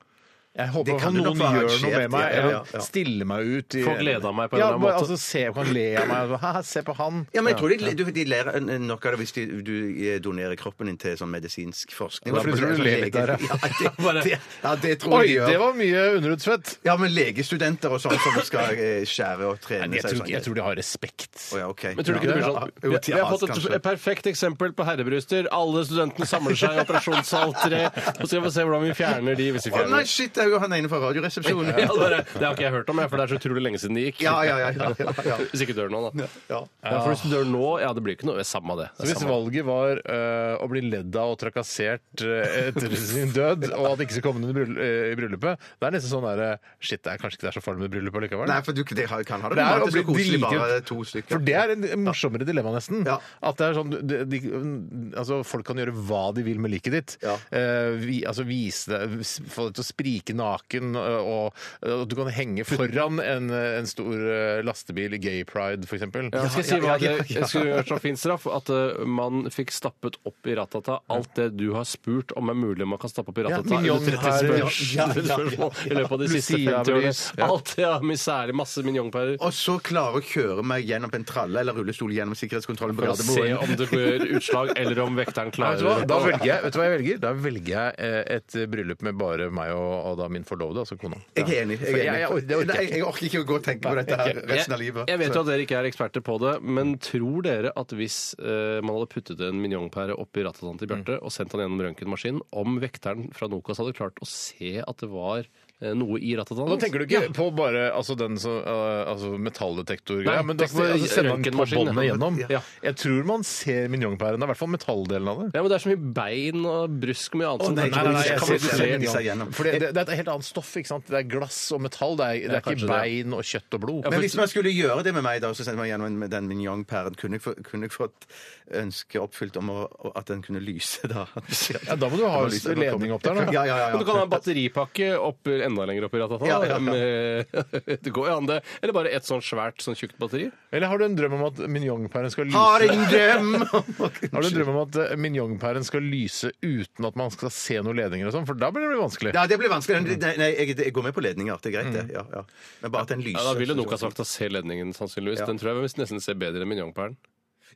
Jeg håper Det at kan du noen nok være gjør noe arrangert, med meg. ja, Eller ja, ja. stiller meg ut. i- Få glede av meg på en ja, eller annen måte. bare, Altså, se, kan le av meg. Haha, se på han. Ja, men jeg tror de, du, de ler nok av det hvis de, du eh, donerer kroppen din til sånn medisinsk forskning. Altså, Hvorfor tror du du ler litt der, ja? ja? Det, det, ja, det tror Oi, jeg de det gjør. var mye underhudsfett! Ja, men legestudenter og sånn som skal eh, skjære og trene Jeg tror, sånn. jeg tror de har respekt. Å, ja, ok. Men tror du ikke det blir sånn? Ja, jo, Vi, vi har fått til hans, et, kanskje. et perfekt eksempel på herrebryster. Alle studentene samler seg i operasjonssal 3. Så skal vi se hvordan vi fjerner de, hvis vi Å, nei, fjerner de. shit, jeg jo han ene fra Radioresepsjonen. Ja, det, er, det har ikke jeg hørt om, jeg, for det er så utrolig lenge siden det gikk. Ja, ja, ja, ja, ja, ja. Hvis ikke dør nå, da. Ja. Ja, for hvis du dør nå, ja, det blir ikke noe. Samme det. Så det er hvis samme. valget var eh, å bli ledd av og trakassert eh, etter sin død, og at det ikke skal komme noen i bryll- eh, i bryllupet Det er nesten sånn derre Shit, det er kanskje ikke det er så farlig med bryllup allikevel. Nei, for du det har- kan ha det Det er normalt. å Det bli er så koselig bare dritkult. to stykker. For det er en morsommere dilemma, nesten. Ja. At det er sånn de, de, altså, Folk kan gjøre hva de vil med liket ditt. Ja. Eh, vi, altså vise deg s- Få deg til å sprike naken, eh, og, og du kan henge foran en, eh, en stor eh, lastebil i gay pride, f.eks. Jeg skal si ja, hva ja, det ja. jeg skulle gjøre som fin straff. At eh, man fikk stappet opp i ratata alt det du har spurt om er mulig man kan stappe opp i ratata. Ja, mignon Eller 30 her, spørs- ja, ja, ja, spørsmål I løpet av de siste 50 Lucia årene. Breeze, ja. Alt, ja. Misære. Masse mignonpærer. Og så klare å kjøre meg gjennom en tralle eller rullestol gjennom sikkerhetskontrollen på For å se Gardermoen. om det blir utslag, eller om vekteren Nei, klarer vet, du hva? Da velger jeg, vet du hva jeg velger? Da velger jeg eh, et bryllup med bare meg og, og da min forlovede, altså kona. Jeg er enig. Jeg, For er jeg- jeg orker- enig. det orker jeg Nei, jeg orker ikke å gå og tenke på dette her resten av Jeg, livet. jeg vet jo at dere ikke er eksperter på det, men tror dere at hvis eh, man hadde puttet en minjonpære oppi rattatannen Mm. til Bjarte og sendt han gjennom røntgenmaskinen, om vekteren fra Nokas hadde klart å se at det var eh, noe i rattatannen? Og Da tenker du ikke på bare altså den som eh, altså metalldetektorgreia, Nei, men da tenk på altså, sender man på røntgenmaskinen. båndet gjennom. Ja. Jeg tror man ser minjonpæren, i hvert fall metalldelen av det. Ja, men det er så mye bein og brusk og mye annet som nei, kanskje nei, nei, ikke jeg kan du ser- jeg se. ser- seg gjennom. For det, det, det er et helt annet stoff. ikke sant? Det er glass og metall. Det er, det Ja, er ikke kanskje det. bein og kjøtt og blod. Men hvis man skulle gjøre det med meg, da, så sendte man gjennom en- med den mignon-pæren, kunne, jeg få- kunne jeg fått ønsket oppfylt om å, at den kunne lyse, da? Ja, da må du ha ledning opp der, da. Ja, ja, ja. Men du kan ha en batteripakke opp, enda lenger oppi rattatannen. Ja, ja, ja. med- det går jo an, det. Eller bare et sånn svært, sånn tjukt batteri. Eller har du en drøm om at minjonpæren skal lyse Har en drøm! Har du en drøm om at eh, minjonpæren skal lyse uten at man skal se noen ledninger og sånn? For da blir det bli vanskelig. Ja, det blir vanskelig. Nei, nei jeg, jeg går med på ledninger. Det er greit, det. Ja, ja. Men bare at den lyser. Ja, da ville Nokas-vakta se ledningen, sannsynligvis. Ja. Den tror jeg visst nesten ser bedre enn minjonpæren.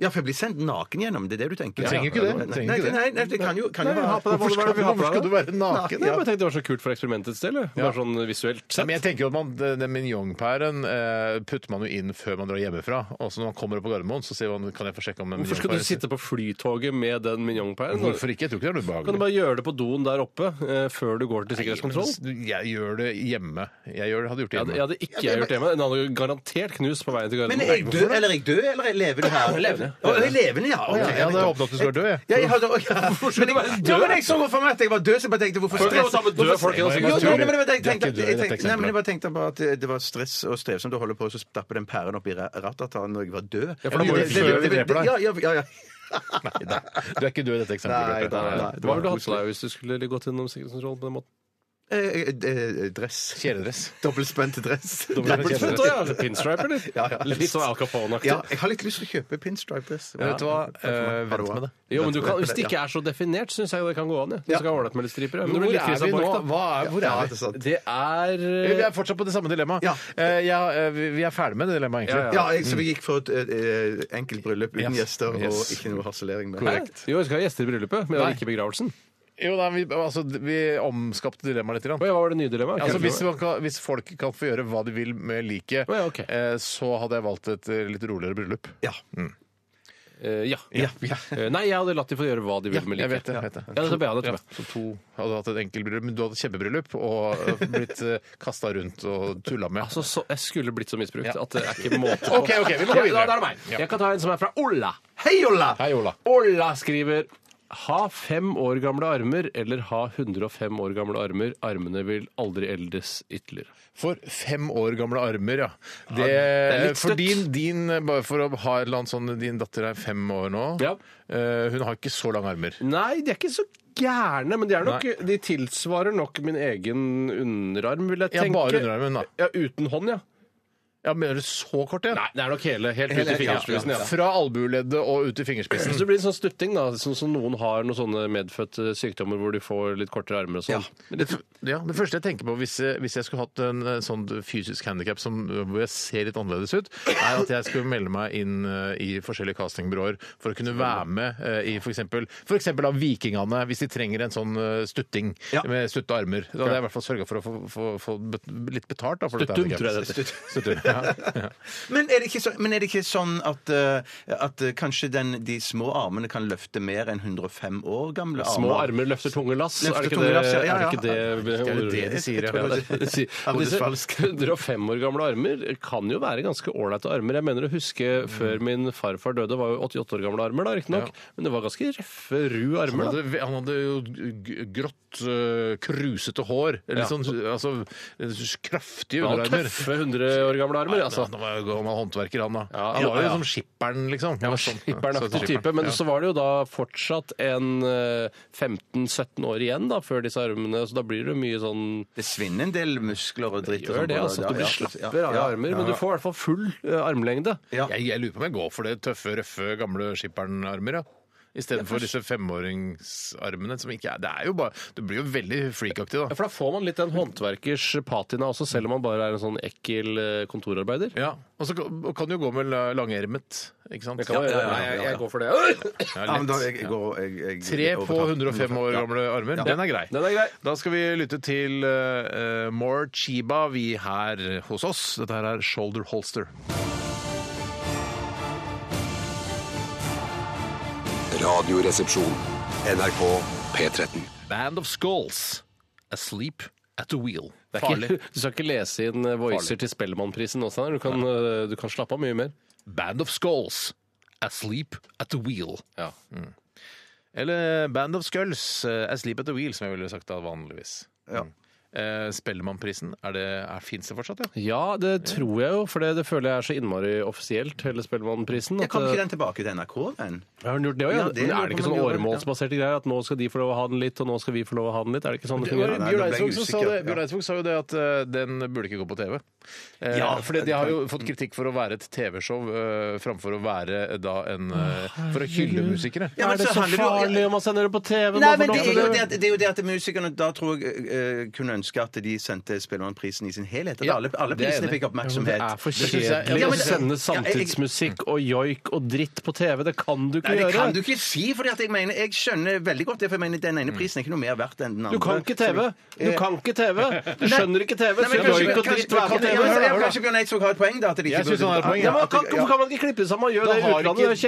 Ja, for jeg blir sendt naken gjennom. Det er det du tenker. Du trenger ikke det. Du Nei, trenger nei, ikke det. nei, nei, det kan jo, kan jo Nei, ha på deg hva du Hvorfor skal, vil ha på hvorfor skal deg. du være naken? Ja, men jeg tenkte det var så kult for eksperimentets del. jeg. Bare sånn visuelt Ja, sett. men jeg tenker jo at man, eh, den den minjonpæren eh, putter man jo inn før man drar hjemmefra. Og så når man kommer opp på Gardermoen, så sier man kan jeg få sjekke om den Hvorfor skal du sitte på flytoget med den minjonpæren? Hvorfor ikke? Jeg tror ikke det er noe Kan du ubehagelig. bare gjøre det på doen der oppe eh, før du går til sikkerhetskontroll? Jeg gjør det hjemme. Jeg gjør det, hadde gjort det Ja, det, hjemme. ja, det ikke jeg gjort hjemme. Den hadde jo garantert knust på veien til Men Gardermoen. er jeg død, eller er jeg død, eller er jeg levende her? Levende. Å, jeg er levende, ja. Å, ja, jeg hadde håpet at du skulle være død, jeg. Ja, jeg hadde, å, ja. Men, jeg, ja, men jeg så for meg at jeg var død, så jeg bare tenkte hvorfor Folk er jo stress? sammen med døde folk, Jo, det er jo, også jo, naturlig. men jeg bare Du tenkte- er ikke død i jeg dette tenkte- Nei, men jeg eksempelet. bare tenkte bare at det var stress og strev som du holder på, og så stapper den pæren opp i ra- ratatanen når jeg var død. Ja, for da må du før vi dreper deg. Ja, ja, ja, ja. Nei, da. Du er ikke død i dette Nei, eksempelet. nei, Bjarte. nei. det Hva var ville du hatt på koselig. deg hvis du skulle gått gjennom sikkerhetskontroll på den måten? Eh, eh, eh, Dress. Kjeledress. Dobbeltspent dress. Dobbeltspent, å, ja. Pinstripe, eller? Ja, ja. Litt sånn Al Capone-aktig. Ja, jeg har litt lyst til å kjøpe pinstripe-dress. Men Vet du hva? Eh, Har du Vent med det. Jo, men du kan, Hvis det ikke er så definert, syns jeg det kan gå an. Ja. Du skal ordne opp med litt striper. ja. Men det blir Hvor litt er Chris vi nå? Abork, da. Hva er, hvor er Ja, det er vi? sant. Det er Vi eh, er fortsatt på det samme dilemmaet. Ja. Eh, ja, eh, vi vi er ferdig med det dilemmaet, egentlig. Ja, Ja, jeg, så vi gikk for et eh, enkelt bryllup uten Yes. gjester og Yes. ikke noe harselering. med. Hæ? Jo, vi skal ha gjester i bryllupet, men det Nei. er ikke begravelsen. Jo, nei, vi, altså, vi omskapte dilemmaet litt. Grann. Oi, hva var det nye dilemmaet? Altså, Kanskje hvis, det var- man kan, hvis folk kan få gjøre hva de vil med liket, Å, ja, ok. eh, så hadde jeg valgt et eh, litt roligere bryllup. Ja. Eh, ja. Eh, Nei, jeg hadde latt de få gjøre hva de ville med Jeg vet liket. det. jeg vet det. Ja, det tror jeg jeg hadde, tror Ja, jeg. så to hadde hatt et enkelt bryllup, men du hadde et kjempebryllup og eh, blitt uh, kasta rundt og tulla med. Altså, så, jeg skulle blitt så misbrukt Ja. at det er ikke måte på. OK, ok, vi må Ja, da gå er det videre. meg. Jeg kan ta en som er fra Olla. Hei, Olla! Hei, Ola. Olla skriver ha fem år gamle armer eller ha 105 år gamle armer. Armene vil aldri eldes ytterligere. For fem år gamle armer, ja. Det, er litt for støtt. din, din, eh, bare for å ha et eller annet sånn Din datter er fem år nå. Ja. Eh, hun har ikke så lange armer. Nei, de er ikke så gærne, men de, er nok, de tilsvarer nok min egen underarm, vil jeg Ja, tenke. bare underarmen, da. Ja, uten hånd, ja. Ja, Mener du så kort igjen? Nei, det er nok hele, helt ut i fingerspissen, ja. Fra albueleddet og ut i Så fingerspissen. det blir en sånn stutting, da, sånn som noen har noen sånne medfødte sykdommer hvor de får litt kortere armer og sånn. Det, ja, det første jeg tenker på hvis, eh, hvis jeg skulle hatt en eh, sånn fysisk handikap hvor jeg ser litt annerledes ut, er at jeg skulle melde meg inn eh, i forskjellige castingbyråer for å kunne være med eh, i f.eks. eksempel av Vikingene, hvis de trenger en sånn eh, stutting Ja. med stutte armer. Da hadde jeg i hvert fall sørga for å få, få, få bet- litt betalt. Da, for dette Stuttum, handicap. tror jeg det heter. Stuttum. Men er det ikke, så, men er det ikke sånn at, eh, at eh, kanskje den, de små armene kan løfte mer enn 105 år gamle armer? Små armer løfter tunge lass. er Løfter det ikke tunge det, lass, ja, ja, er det, ja. ikke det, Er det det de sier, ja? Ja, det er det de sier. Ja, Disse hodesvall. 105 år gamle armer kan jo være ganske ålreite armer. Jeg mener å huske før min farfar døde, var jo 88 år gamle armer, da, riktignok. Men det var ganske røffe, ru Han armer. da. hadde, han hadde jo g- grått, øh, krusete hår. Eller Ja. sånn altså, øh, kraftige Han hadde underarmer. tøffe 100 år gamle armer, altså. Han var jo gammel håndverker, han da. Ja, han var jo ja. som skipperen, liksom. Han var Sånn. skipperenaktig Sånn type, men ja. så var det jo da fortsatt en eh, 15-17 år igjen da, før disse armene, så da blir det mye sånn Det svinner en del muskler og dritt. og Gjør sånt det, på altså. At du sånn Ja, blir slapper ja, av ja, armer, ja. men du får i hvert fall full eh, armlengde. Ja. Jeg, jeg lurer på om jeg går for det tøffe, røffe, gamle skipperenarmer, ja. Istedenfor disse femåringsarmene som ikke er Det er jo bare Du blir jo veldig freakaktig, da. Ja, For da får man litt den håndverkers patina også, selv om man bare er en sånn ekkel eh, kontorarbeider. Ja, Og så kan og kan du jo gå med la- langermet, ikke sant? Kan man gjøre det? ja, ja, ja. Nei, jeg, jeg går for det. Ja, Ja, men da, lett. jeg, jeg går, jeg, jeg, Tre på overtar. 105 år gamle armer. Den er grei. Den er grei. Da skal vi lytte til eh, eh, More Chiba, vi her hos oss. Dette her er Shoulder Holster. Radioresepsjon. NRK P13. Band of Skulls. Asleep at the wheel. Det er ikke, du skal ikke lese inn eh, voicer til Spellemannprisen nå, Steinar. Du, kan, eh, du kan slappe av mye mer. Band of Skulls. Asleep at the wheel. Mm. Eller Band of Skulls. eh, Asleep at the wheel, som jeg ville sagt da vanligvis. Ja. Mm. Eh, Spellemannprisen, er det, er, fins det fortsatt, ja? Ja, det tror jeg jo, for det, det føler jeg er så innmari offisielt, hele Spellemannprisen. Jeg at, kom eh, ikke den tilbake til NRK, den? Har hun gjort det også, ja? Ja, det Men lurer er det på ikke om sånn hun gjør det, åremålsbaserte greier? At nå skal de få lov å ha den litt, og nå skal vi få lov å ha den litt? Er det ikke sånn det Bjørn fungerer? nei, da ble jeg Eidsvåg som sa usikker. det- Bjørn Ja. Eidsvåg sa jo det at eh, den burde ikke gå på TV. Eh, Ja, fordi de har jo fått kritikk for å være et TV-show eh, framfor å være eh, da en eh, For å hylle musikere. Ja, men er det så så handler det jo- farlig om man sender det på TV? Nei, Bare men for Altså, det nå- er, jo det, at- det er jo det at musikerne da tror jeg eh, kunne ønske at de sendte Spellemannprisen i sin helhet. At Ja, alle, alle det er jeg prisene enig i. fikk Det oppmerksomhet. er for synes jeg- Ja, kjedelig men å det- sende Ja, jeg- samtidsmusikk og joik og dritt på TV. Det kan du Nei, ikke det gjøre. kan du ikke si, for jeg, mener- jeg skjønner veldig godt det. For jeg mener, den ene prisen er ikke noe mer verdt enn den andre. Mm. Du kan ikke TV! Du kan ikke TV! Du skjønner ikke TV, Nei, men så kanskje- joik og kanskje- dritt være på ja, TV. men- Hør, ja, hør, hør. Kanskje Bjørn Eidsvåg har et poeng, da. At de ikke Jeg synes burde- han har et poeng, Ja, Ja, men at kan, de- hvorfor kan man ikke klippe sammen og gjøre Da det i har utlandet? ikke- Gjøre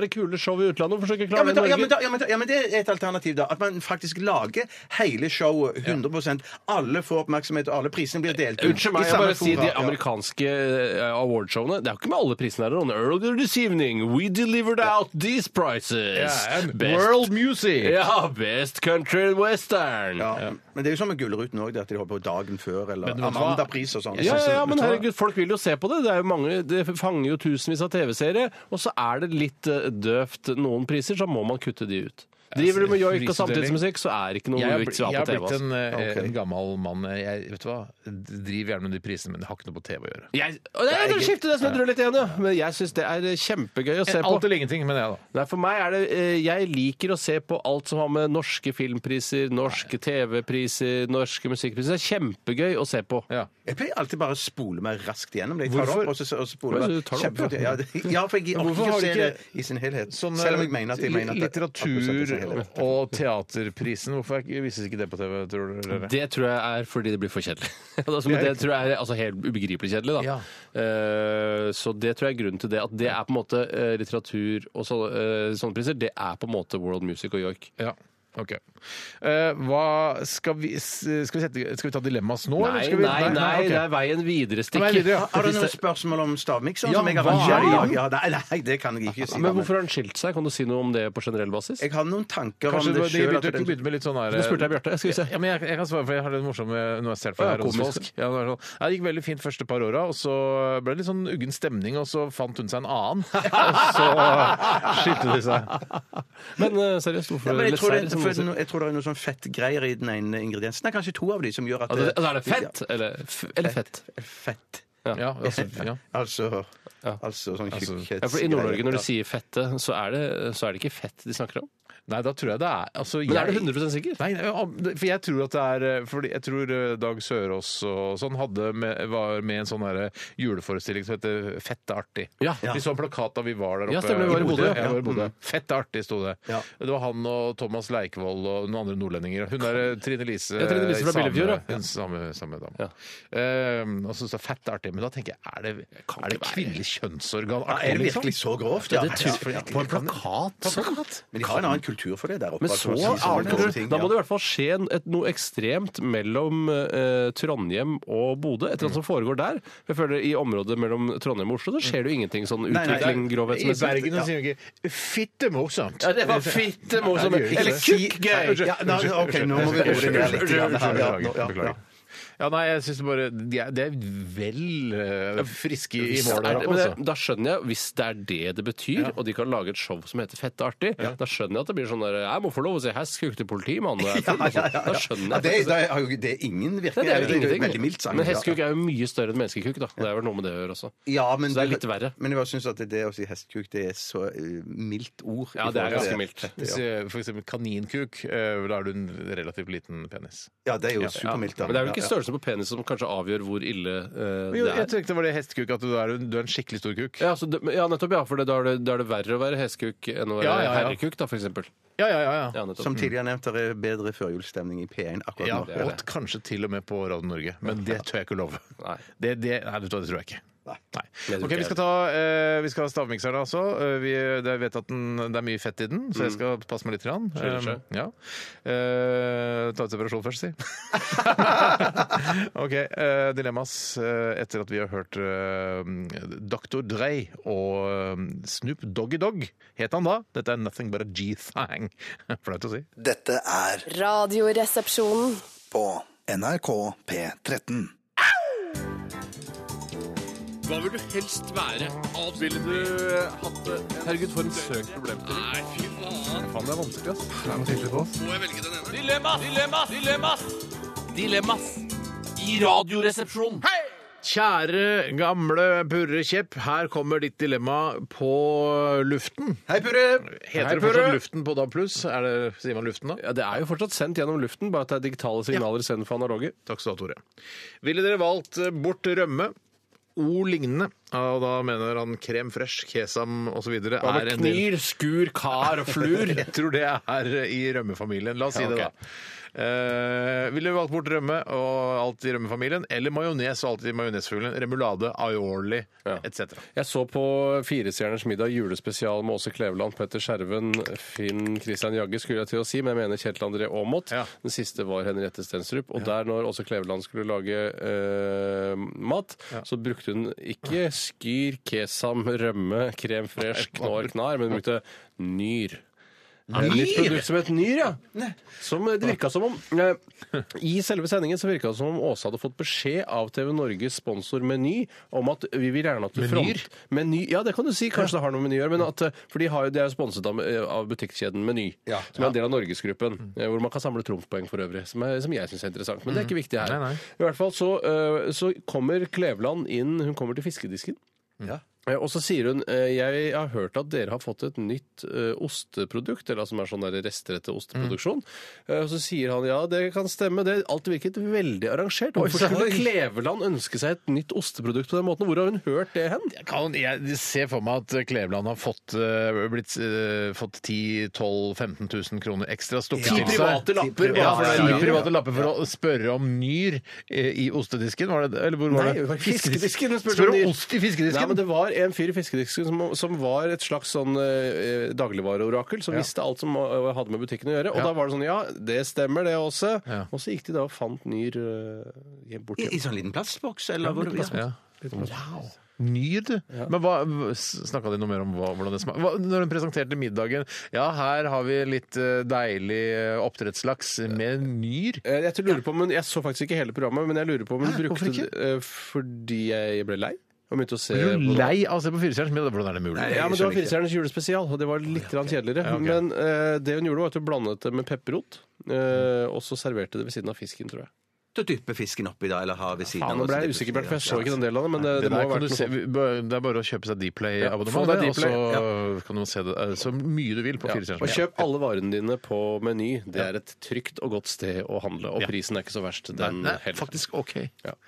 kjempespektakulære, kule show i utlandet. Hvorfor skal ikke Ja klare men, det da, i ja, men Norge? da, ja, men da, ja, men det er et alternativ, da. At man faktisk lager hele showet 100 Alle får oppmerksomhet, og alle prisene blir delt ut. Unnskyld i meg, jeg samme bare si fora. de Ja. amerikanske eh, awardshowene. Det er jo ikke med alle prisene her. Ron. Earlier this evening, we delivered out these prizes. and Best- World music! Ja, best country and western. Ja. Men det er jo sånn med Gullruten òg, at de holder på dagen før, eller Men vet du hva? Amanda-pris og sånn. Ja, ja, ja, Så- men så- herregud, folk vil jo se på det. Det, er jo mange, det fanger jo tusenvis av TV-serier. Og så er det litt eh, døvt noen priser, så må man kutte de ut. Driver du med joik og prisutdeling. samtidsmusikk, så er det ikke Jeg noe er, vits i å jeg ha er på TV. blitt altså. en, eh, Ok. en gammel mann. Jeg, vet du hva? Driver gjerne med de prisene, men det har ikke noe på TV å gjøre. Jeg, å, nei, dere skifter det, snudde dere litt igjen, ja. Men jeg syns det er eh, kjempegøy å se på. Alt eller ingenting, men jeg, da. Nei, for meg er det eh, Jeg liker å se på alt som har med norske filmpriser, norske TV-priser, norske musikkpriser. Det er kjempegøy å se på. Ja. Jeg pleier alltid bare å spole meg raskt gjennom det. Jeg tar det Hvorfor? opp, og så, og så spoler Hva er det jeg meg du tar det opp, kjempefort. Ja, det- ja, for jeg orker Hvorfor ikke har å du se ikke det i sin helhet. Sånn, Selv om jeg mener at jeg mener at det- at det er sånn Litteratur helhet. og teaterprisen, hvorfor er ikke- vises ikke det på TV, tror dere? Det tror jeg er fordi det blir for kjedelig. Altså, men det tror jeg er altså, helt ubegripelig kjedelig, da. Ja. Eh, så det tror jeg er grunnen til det. At det er på en måte eh, litteratur og så, eh, sånne priser, det er på en måte World Music og York. Ja. OK. Eh, hva skal vi, s- skal vi, sette, skal vi ta dilemmas nå, eller skal vi ok. det er veien videre, stikk. Veien videre, ja. Har du noen spørsmål om stavmikseren Ja, som jeg har hva er arrangert i dag? det? Ja, nei, nei, det kan jeg ikke si. da, Men hvorfor har han skilt seg? Kan du si noe om det på generell basis? Jeg har noen tanker Kanskje om det de sjøl. begynte, ikke begynte med litt sånn her Nå spurte jeg Bjarte, skal vi se. Ja, men jeg, jeg kan svare, for jeg har det morsomme når jeg Å, ser for ja, her komisk. Rosvaldsk. Ja, det, var sånn, ja, det gikk veldig fint første par åra, og så ble det litt sånn uggen stemning, og så fant hun seg en annen. Og så skilte de seg. Men eh, seriøst, Ja, hvorfor men jeg tror, Lesser, det, som for, man sier. no- jeg tror det er noe sånn fettgreier i den ene ingrediensen. Det er kanskje to av de som gjør at Altså, det, altså, er det fett eller, f eller fett? Fett. Ja, altså, ja. Altså, Ja. altså sånn tjukkhets... Ja, for I Nord-Norge, når de sier fette, så er, det, så er det ikke fett de snakker om. Nei, da tror jeg det er altså, Men er du jeg- 100 sikker? Nei, nei, for jeg tror at det er eh, Fordi jeg tror eh, Dag Sørås og sånn hadde med, var med i en sånn derre juleforestilling som heter Fett er artig. Ja. Vi så en plakat da vi var der oppe. Ja, stemmer, vi var i Bodø. Ja, vi var i Bodø. Mm. Fett er artig, sto det. Ja. Det var han og Thomas Leikvoll og noen andre nordlendinger. Hun er eh, Trine Lise Ja, Trine Lise fra eh, same- Billefjord, ja. Hun samme, samme dame. Ja. Eh, og så står det Fett er artig. det, men da tenker jeg er det, kan er det ikke være- kvinnelig kjønnsorgan? liksom? Er det virkelig så grovt? Ja, det tror jeg- på en plakat? Men de har en annen kultur for det der oppe. Men at så man sier sånne annen grove kultur. ting, Da ja. må det i hvert fall skje en- et, noe ekstremt mellom eh, Trondheim og Bodø. Et eller annet som foregår der. Jeg føler I området mellom Trondheim og Oslo så skjer det jo ingenting sånn nei, det er- utvikling I grovhetsmessig. Bergen sier de ikke 'fitte morsomt'. Ja, det var fitte morsomt. Nei, det gjør ikke Eller det. kukkgøy. Nei, Ja, nei, unnskyld, ok, nå unnskyld, må vi roe det ned litt. unnskyld, Ja, unnskyld, ja, beklager, ja, ja. beklager. Ja, nei, jeg syns bare de er, Det er vel eh, friske i Hvis mål det der er det- oppe, men altså. det- Da skjønner jeg, hvis det er det det betyr, og de kan lage et show som heter Fette artig, da skjønner jeg at det blir sånn der Jeg må få lov å si hei, skukk til politi, mann. når jeg er full», og sånn. Da skjønner jeg Ja, det, faktisk det, er, jo- det er ingen Nei, virkning. det er jo ingenting. veldig mildt sagt. Men hestekuk er jo mye større enn menneskekuk, da. Det er vel noe med det å gjøre også. Ja, men, Så det er litt verre. Men jeg syns at det å si hestekuk, det er så eh, mildt ord. Ja, i det er forhold til ganske mildt. Hvis eh, for eksempel kaninkuk, eh, da er du en relativt liten penis. Ja, det er jo Ja. supermildt. da. Men det er vel ikke Ja, ja. størrelsen på penis som kanskje avgjør hvor ille eh, Jo, jeg det er? tenkte det var det hestekuk, at du er, en- du er en skikkelig stor kuk. Ja, så det, ja, nettopp, ja. For det- da er, det, da er det verre å være hestekuk enn å være Ja, ja, ja. herrekuk, da, for eksempel. Ja, ja, ja. ja. Ja, nettopp. Som tidligere nevnt, det er bedre førjulsstemning i P1 akkurat Ja, nå. og kanskje til og med på Radio Norge, men det tør jeg ikke love. Nei. Det, det, nei, vet du hva, det tror jeg ikke. Nei. tror Ok, ikke Vi skal ta eh, vi skal ha stavmikseren altså. Eh, vi, det, jeg vet at den, det er mye fett i den, så jeg skal passe meg litt. Grann. Mm. Skylder seg. Eh, ja. Eh, ta ut separasjon først, si. ok. eh, dilemmas eh, etter at vi har hørt eh, Dr. Dre og eh, Snoop Doggy Dogg, het han da. Dette er nothing but a G-thang. Flaut å si. Dette er Radioresepsjonen. på NRK P13. Hva vil du helst være? Ville du hatt det? Herregud, for en søk problem til. Nei, fy faen. Faen, det er vanskelig, ass. Det er noe tydelig på oss. Må jeg velge den ene? Dilemmas! Dilemmas! Dilemmas! Dilemmas i radioresepsjonen. Kjære gamle Purre Kjepp, her kommer ditt dilemma på luften. Hei, Purre! Heter Hei, Purre! det fortsatt Luften på DAB+. Er det, sier man Luften da? Ja, det er jo fortsatt sendt gjennom luften, bare at det er digitale signaler sendt for analoge. Takk skal du ha, Tore. Ville dere valgt eh, bort rømme? O lignende. Ja, og da mener han krem fresh, kesam osv. Hva med knir, skur, kar og flur? Jeg tror det er i rømmefamilien. La oss si Ja, ok. det, da. Eh, ville du valgt bort rømme og alt i rømmefamilien? Eller majones og alt i majonesfuglen? Remulade, aioli etc. Jeg så på Firestjerners middag julespesial med Åse Kleveland, Petter Skjerven, Finn Christian Jagge, skulle jeg til å si, men jeg mener Kjetil André Aamodt. Ja. Den siste var Henriette Stensrup. Og der, når Åse Kleveland skulle lage eh, mat, så brukte hun ikke skyr, kesam, rømme, krem fresh, knar, knar, men hun brukte nyr. Et nytt produkt som het Nyr, ja. Som eh, det virka som om eh, I selve sendingen så virka det som om Åse hadde fått beskjed av TV Norges sponsor Meny om at vi vil gjerne at du front... Meny? Ja, det kan du si. Kanskje det har noe med Meny å gjøre. Men at, eh, for de, har, jo- de er jo sponset av, eh, av butikkjeden Meny, som er en del av Norgesgruppen. eh, Hvor man kan samle trumfpoeng for øvrig, som, er, som jeg syns er interessant. Men det er ikke viktig her. I hvert fall så, eh, så kommer Kleveland inn. Hun kommer til fiskedisken. Eh, Og så sier hun eh, jeg har hørt at dere har fått et nytt eh, osteprodukt, eller som er sånn der rester etter osteproduksjon. Eh, Og så sier han ja, det kan stemme, det alt virket veldig arrangert. Hvorfor skulle Kleveland ønske seg et nytt osteprodukt på den måten? Hvor har hun hørt det hen? Kan, jeg ser for meg at Kleveland har fått, eh, blitt, eh, fått 10 12 15 000 kroner ekstra stukket Ti til seg. private lapper. Ja, bare for for det den er nyr. ti private lapper for å spørre om nyr eh, i ostedisken? Var det, eller hvor var Nei, det? det var fiskedisken hun spurte Spør om nyr. om ost i fiskedisken? Nei, men Det var en fyr i fiskedisken som, som var et slags sånn eh, dagligvareorakel, som visste alt som eh, hadde med butikken å gjøre. Og da var det sånn Ja, det stemmer, det også. Ja. Og så gikk de da og fant Nyr eh, hjem bort I, I igjen. sånn liten plastboks, eller? hvor- ja. Wow. Nyr, du. Men hva, snakka de noe mer om hva, hvordan det smaker? Hva, når hun presenterte middagen Ja, her har vi litt eh, deilig eh, oppdrettslaks med nyr. Eh, Jeg lurer på, om hun- jeg så faktisk ikke hele programmet, men jeg lurer på om hun Hæ? Hvorfor brukte ikke? det eh, fordi jeg ble lei. Og begynte å se Er du på- lei av å se på Firestjerners middag? Hvordan er det mulig? Ja, men Det var Firestjerners julespesial, og det var litt grann kjedeligere. Ja, Ah, ok. Men eh, det hun gjorde, var at hun blandet det med pepperrot, eh, og så serverte det ved siden av fisken, tror jeg. Til å dyppe fisken oppi da, eller ha ved siden altså, Ja, nå ble jeg usikker, Bjørn, for jeg så ikke den delen av det. Men det, Det, det må der ha kan vært du noe se, sånt. det er bare å kjøpe seg få Dplay-abonnement, deg og så kan du se det eh, så mye du vil på Ja. Firestjerners Og kjøp alle varene dine på Meny. Det er et trygt og godt sted å handle. Og Ja. prisen er ikke så verst, Nei, den nei, heller. faktisk OK. Ja.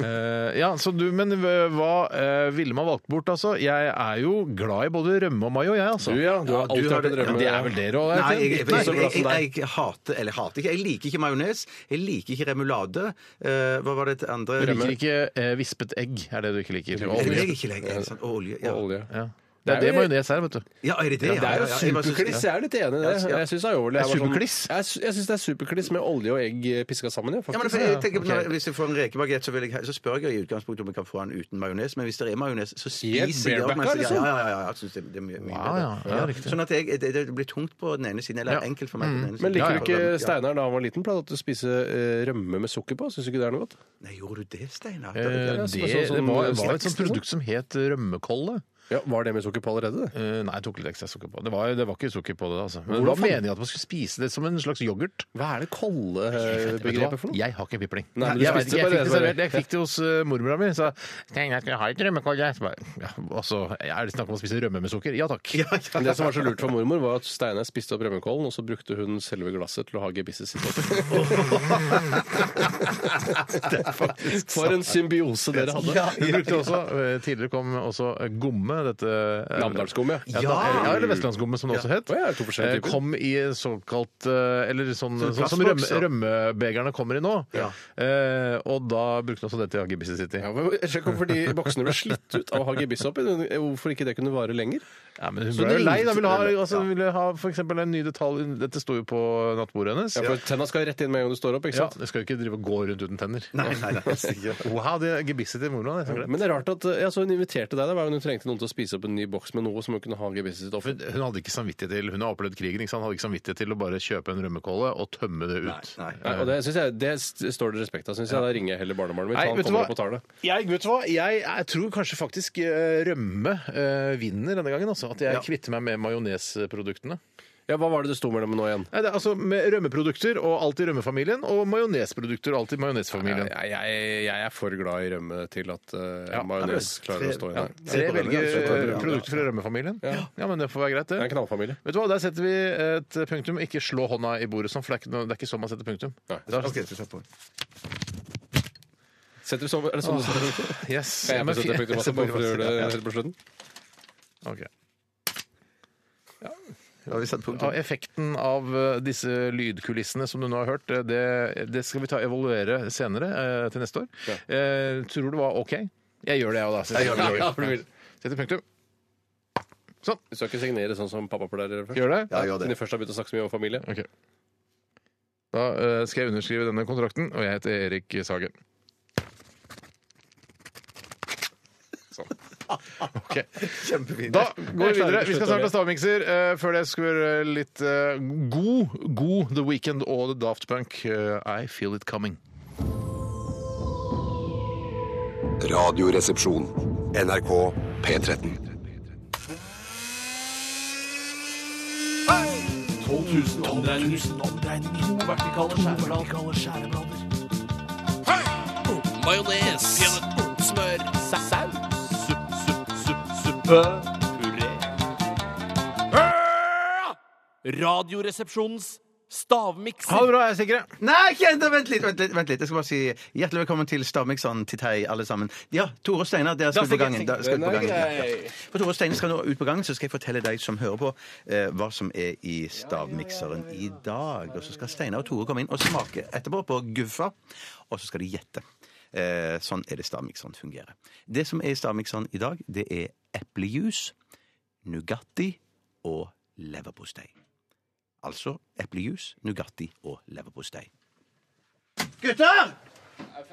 Eh, ja, så du, men eh, hva eh, ville man valgt bort, altså? Jeg er jo glad i både rømme og mayo, jeg, altså. Du, ja. Du har alltid har vært en det- drømme. Det er vel dere òg? Nei, jeg, jeg, jeg, så jeg, glad som jeg, deg. jeg hater Eller hater ikke. Jeg liker ikke majones. Jeg liker ikke remulade. Eh, hva var det til andre? Du liker ikke eh, vispet egg, er det du ikke liker. Og Er det det olje. jeg ikke liker? Sånn, og olje. Ja. Og olje. Ja. Det er det majones er, vet du. ja, er det det? Det er jo Ja, ja, ja. Jeg bare synes- superkliss. Jeg er litt enig i det. Ja, ja. Jeg synes aioli Det er bare sånn- superkliss. Jeg sy- Jeg syns det er superkliss med olje og egg eh, piska sammen, ja. Ja, men Faktisk. jeg tenker, på når, Hvis jeg får en rekebagett, så, vil jeg, så spør jeg i utgangspunktet om jeg kan få den uten majones. Men hvis det er majones, så spiser jeg det. opp, mens barebacka, jeg- liksom. Ja, ja, ja, ja, jeg synes det, det er mye, mye Wow, ja. bedre. Ja, riktig. Sånn at jeg, det, det blir tungt på den ene siden, eller Ja. Mm. enkelt for meg på den ene siden. Men liker Ja, ja. du ikke Ja. Steinar da han var liten? Pleide du å spise eh, rømme med sukker på? Syns du ikke det er noe godt? Nei, gjorde du det, Steinar? Eh, Det- Det, det er sånn- det sånn var, var snacks, et sånt produkt som het rømmekolle. Ja, Var det med sukker på allerede? det? Eh, nei, jeg tok litt ekstra sukker på. Det var, det var ikke sukker på det, altså. Hvordan Men det var fant- meningen at man skulle spise det som en slags yoghurt. Hva er det eh, Vet du hva? kollebegrepet for noe? Jeg har ikke pipling. Nei, men du jeg, vet spiste ikke, bare jeg, fikk det det som var- servert, jeg fikk det hos uh, mormora mi. Sa Steinar, skal jeg ha et rømmekolle? Så bare, ja, altså, er det snakk om å spise rømme med sukker? Ja takk. Men Det som var så lurt for mormor, var at Steinar spiste opp rømmekålen, og så brukte hun selve glasset til å ha gebisset sitt oppi. For en symbiose dere hadde. Ja, vi brukte også, eh, tidligere kom også eh, gomme, dette eh, Namdalsgom, ja. Ja, da- ja, eller Vestlandsgommet, som det også het. Å ja, to forskjellige Eh, typer. Kom i såkalt eh, Eller sånn, sånn som rømme, plastboks, ja. rømmebegerne kommer i nå. Eh, og da brukte han også det til Agibissi City. Ja, men Sjekk hvorfor de boksene ble slitt ut av å ha gebiss oppi. Hvorfor ikke det kunne vare lenger? Ja, men hun Så ble det jo lei. ringte Da ville ha, til- altså, ville ha for eksempel en ny detalj Dette sto jo på nattbordet hennes. Ja, Ja, for Tenna skal rett inn med en gang du står opp. ikke sant? Jeg skal jo ikke drive og gå rundt uten tenner. Nei, nei, nei, altså ikke. Wow, det er Agibissi til mora. det er så greit. Men det er rart at ja, så hun inviterte deg. Det var jo hun trengte noen til å spise opp en ny boks med noe som hun kunne ha gebisset sitt oppi. Men Hun hadde ikke samvittighet til Hun har opplevd krigen. Ikke sant? Hun hadde ikke samvittighet til å bare kjøpe en rømmekåle og tømme det ut. Nei, nei. Nei, og det, synes jeg, det st- står det respekt av, syns jeg. Da ringer jeg heller barnebarnet mitt. Nei, han vet du kommer hva? opp og tar det. Jeg, vet du hva? Jeg, jeg tror kanskje faktisk eh, rømme eh, vinner denne gangen. Altså. At jeg kvitter meg med majonesproduktene. Ja, Hva var det det sto mellom nå igjen? Nei, det er altså med Rømmeprodukter og alt i rømmefamilien, og majonesprodukter og alt i majonesfamilien. Jeg, jeg, jeg er for glad i rømme til at uh, majones klarer å stå igjen. Ja. Tre velger eh, ja. produkter fra rømmefamilien. Ja. men det får være greit, Det er en det. knallfamilie. Vet du hva, Der setter vi et punktum. Ikke slå hånda i bordet sånn, for det er ikke, noe- det er ikke sånn man setter punktum. Da- Ok, så ta på. Setter du sånn, er det sånn du setter Yes. Kan jeg Men få sette fi- punktum også, bare for å gjøre det helt på slutten? Ok. Da har vi satt punktum. Ja, effekten av eh, disse lydkulissene som du nå har hørt, eh, det, det skal vi ta evaluere senere eh, til neste år. Eh, tror du det var OK? Jeg gjør det, jeg òg, da. Så gjør det, jeg gjør det. Ja, for du vil. Setter punktum. Du skal ikke signere sånn som pappa pleier å gjøre først? Gjør det? Ja, gjør Siden det. de først har begynt å snakke så mye om familie. Ok. Da eh, skal jeg underskrive denne kontrakten, og jeg heter Erik Sagen. Sånn. Ok. Kjempefint. Da går vi videre. Vi skal snart ha stavmikser. Eh, før det skal vi høre litt eh, god, god The Weekend og The Daft Punk. eh, I Feel It Coming. Radioresepsjon. NRK P13. Radioresepsjonens stavmikser. Ha det bra, jeg er Sigrid. Nei, ikke ennå! Vent litt, vent litt. vent litt Jeg skal bare si Hjertelig velkommen til Stavmikseren til Tei, alle sammen. Ja, Tore og Steinar, dere skal ut på gangen. Da skal ut på gangen. Ja, ja. For Tore og Steinar skal nå ut på gangen, så skal jeg fortelle deg som hører på, eh, hva som er i stavmikseren i dag. Og så skal Steinar og Tore komme inn og smake etterpå på guffa, og så skal de gjette. Eh, sånn er det stavmikseren fungerer. Det som er i stavmikseren i dag, det er eplejus, Nugatti og leverpostei. Altså eplejus, Nugatti og leverpostei. Gutter! Jeg er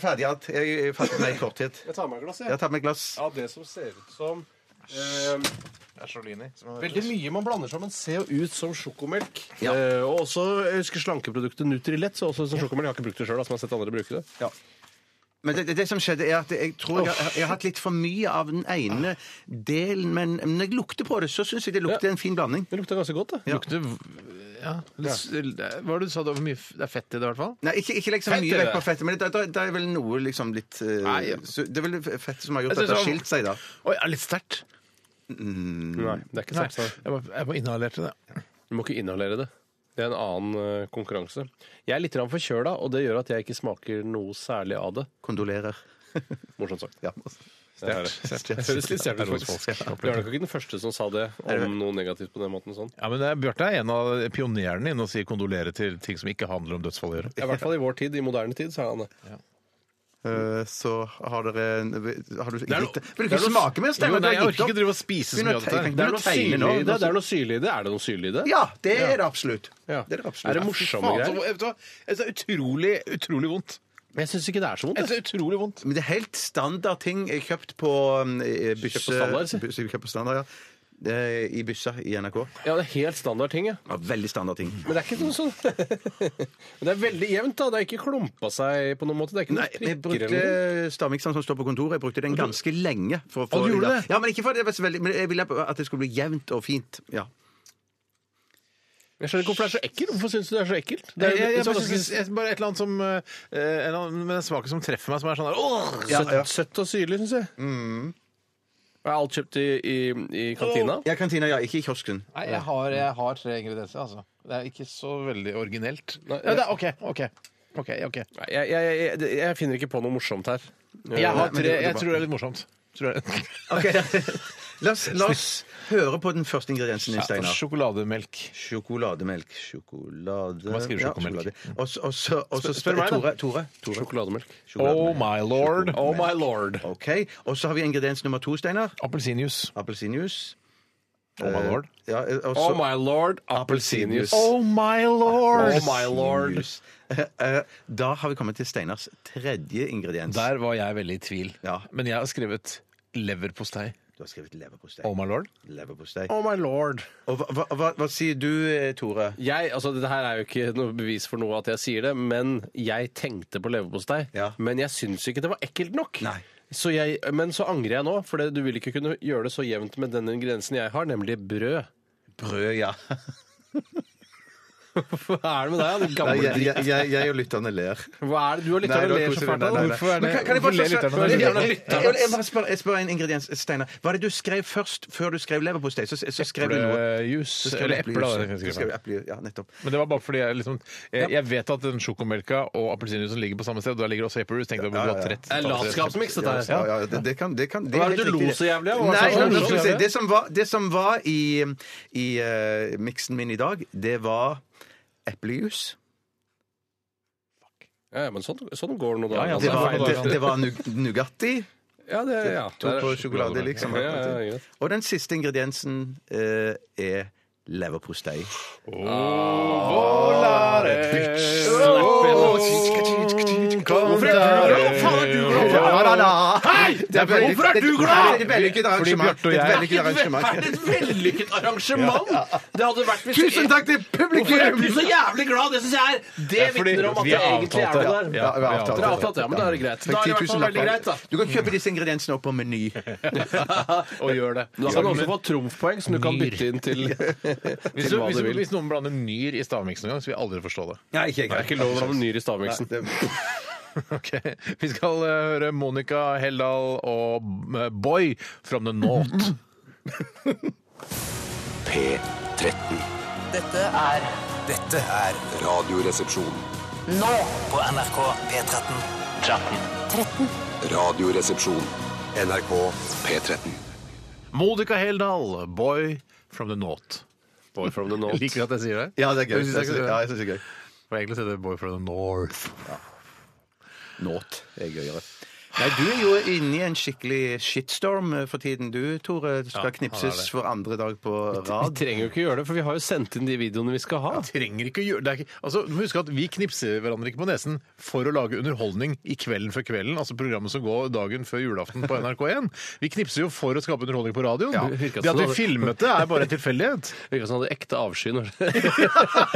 ferdig alt. Jeg, jeg fatter meg i korthet. Jeg tar meg et glass, Jeg tar meg et glass. Av det som ser ut som eh, Veldig mye man blander sammen ser jo ut som sjokomelk. Ja. Eh, og også jeg husker slankeproduktet Nutrilett. Så også ut som sjokomelk. Jeg har ikke brukt det sjøl, men jeg har sett andre bruke det. Men det, det, det som skjedde, er at jeg tror jeg, har- jeg har hatt litt for mye av den ene delen. Men når jeg lukter på det, så syns jeg det lukter en fin blanding. Det lukter ganske godt, det. Ja. Lukter ja, litt, eh, Hva var det du sa? Det var mye f- det er fett i det, i hvert fall? Nei, ikke, ikke legg så Fett mye er vekk det. på fettet, men det, det, det er vel noe liksom litt eh, Nei, ja. så, Det er vel fettet som har gjort Jeg at det har synes skilt seg, da. Oi, er det litt sterkt? Nei, det er ikke Nei, sant. jeg må, jeg må inhalere til det. Du må ikke inhalere det. Det er en annen eh, konkurranse. Jeg er litt grann forkjøla, og det gjør at jeg ikke smaker noe særlig av det. Kondolerer. Morsomt sagt. Ja. Det høres litt stjålet ut. faktisk. Bjørnar er ikke den første som sa det om noe negativt på den måten. sånn. Ja, men det er- Bjarte er en av pionerene innen å si kondolere til ting som ikke handler om dødsfall å gjøre. Ja, I hvert fall i vår tid, i moderne tid, så er han det. Eh, Så har dere en- har du, er gitt, noe- Vil du ikke smake mer, Jo, Steinar? Du nei, har jeg orker gitt ikke opp. drive og spise så mye av Begynner å dette. her. tegne- Det er noe tegne syrlig nå, i det. Det er noe syrlig i det. Er det noe syrlig i det? Ja, det er det absolutt. Ja. Det er det absolutt. Er det morsomme Faen, så, greier? vet du hva? Jeg synes Det er utrolig, utrolig vondt. Men jeg syns ikke det er så Jeg vondt. synes Det er utrolig vondt. Men det er helt standard ting jeg kjøpt på eh, bysse... standard, si. bysse- Kjøpt på standard, ja. Eh, I byssa i NRK. Ja, det er helt standard ting, ja. Ja, veldig standard ting. Men det er ikke noe sånn Men det er veldig jevnt, da. Det er ikke klumpa seg på noen måte. Det er ikke Nei, noen jeg prikker brukte eller noe. stavmikseren som står på kontoret, jeg brukte den ganske lenge. For å få, Å, du gjorde ja. det? Ja, men ikke for det var så veldig, men jeg ville at det skulle bli jevnt og fint. Ja. Jeg skjønner ikke hvorfor det er så ekkelt. Hvorfor syns du det er så ekkelt? Det Jeg, er, jeg, så jeg, bare ganske synes- jeg, bare et eller annet som eh, en eller annen, Med den smaken som treffer meg, som er sånn der åh! søtt, søtt og syrlig, syns jeg. Er alt kjøpt i, i, i kantina? Ja, kantina, ja. Ikke i kiosken. Nei, jeg har, jeg har tre ingredienser, altså. Det er ikke så veldig originelt. Ja, det er, OK, OK. ok, ok. Nei, Jeg, jeg, jeg, jeg finner ikke på noe morsomt her. Jeg, har men det- tre, det jeg var- tror det er litt morsomt. Tror jeg. Ok, La oss, la oss høre på den første ingrediensen din, Steinar. Sjokolademelk. Sjokolademelk. Sjokolade Hva skriver sjokolademelk? sjokolade. Og så- og så- og så Spør meg, da. Tore. Tore. Tore. Sjokolademelk. Oh my lord. Oh my lord. OK. Og så har vi ingrediens nummer to, Steinar. Appelsinjuice. Appelsinjuice. Eh, Oh my lord. Ja, og Oh så- my lord, appelsinjuice. Oh my lord! Oh my lord. Juice. Eh, eh, Da har vi kommet til Steinars tredje ingrediens. Der var jeg veldig i tvil. Ja. Men jeg har skrevet leverpostei. Du har skrevet leverpostei. Oh my lord. leverpostei. Oh my lord. Og hva, hva, hva, hva sier du, eh, Tore? Jeg, altså Dette her er jo ikke noe bevis for noe at jeg sier det, men jeg tenkte på leverpostei. Ja. Men jeg syns ikke det var ekkelt nok. Nei. Så jeg, men så angrer jeg nå, for det, du vil ikke kunne gjøre det så jevnt med den ingrediensen jeg har, nemlig brød. Oh Brød, ja. Hva er det med deg, din Nei, gamle jeg, dritt? jeg, jeg, jeg og lytterne ler. Hva er det du har lytta Nei, til det og var ler så fælt av? koselig. Nei, nei, nei. Hvorfor er Men det- kan- kan jeg hvorfor bare ler spørre- lytterne? Jeg- Lytterne jeg- lytter. jeg- jeg bare spør- Jeg spør en ingrediens, Steinar. Hva er det du skrev først, før du skrev leverpostei? Så, så skrev du noe. Så Juice. skrev du Eller eple. eplejus. da, jeg sånn. Så skrev. skrev du eplejus, Ja, nettopp. Men det var bare fordi jeg liksom Jeg, jeg vet at den sjokomelka og appelsinjuicen ligger på samme sted. og Der ligger også eplejus. Tenkte jeg hadde ja, ja. dratt rett. Det er latskapsmiks, dette her. Ja, ja, det, det kan, det kan det Hva er det helt du lo riktig, så jævlig av? Hva var det Nei, som var nå skal morsomt? vi se. Det som var, det som var i, i eh, miksen min i dag, det var eplejus. Ja, ja, men sånn, sånn går det nå, da. Ja, ja, Det var, det- det, det var nug- Nugatti. ja, det, ja. To på sjokolade, liksom. Ja, ja, ja, greit. Og den siste ingrediensen eh, er leverpostei. Hvorfor er du glad? Faen, er du glad? Hei! Det er veldig- Hvorfor er du glad? Det er et vellykket arrangement. Bjarte og Det er et jeg- vellykket Er det arrangement. et vellykket arrangement? Det hadde vært hvis Tusen takk til Hvorfor er publikum! du så jævlig glad? Det syns jeg er Det Ja, fordi vitner om at vi det har egentlig er avtalt noe det. der. Ja, vi har Dere har avtalt det, ja, men da er det greit. Da er det i hvert fall veldig greit, da. Du kan kjøpe disse ingrediensene opp på Meny. Og gjør det. Da kan du også få trumfpoeng som du kan bytte inn til, Hvis, til du, hva hvis, du vil. hvis noen blander nyr i stavmiksen en gang, så vil jeg aldri forstå det. Nei, ikke Det er ikke lov å ramme nyr i stavmiksen. Ok, Vi skal eh, høre Monica Heldal og eh, Boy from the North. P13. Dette er Dette er Radioresepsjon. nå på NRK P13. Radioresepsjon. NRK P13. Monica Heldal, Boy from the North. Boy from the north. Liker du at jeg sier det? Ja, det er gøy. Jeg synes det er gøy. Ja, jeg synes det er gøy. For egentlig heter det Boy from the North. Nåt er gøyere. Nei, du er jo inne i en skikkelig shitstorm eh, for tiden. Du, Tore, skal Ja, han er knipses det. for andre dag på Vi rad. trenger jo ikke gjøre det, for vi har jo sendt inn de videoene vi skal ha. Trenger ikke å gjøre det er ikke, altså, Du må huske at vi knipser hverandre ikke på nesen for å lage underholdning i Kvelden før kvelden, altså programmet som går dagen før julaften på NRK1. Vi knipser jo for å skape underholdning på radioen. Ja, det virker det at sånn. vi filmet det, er bare en tilfeldighet. Virka som han hadde ekte avsky. Når det.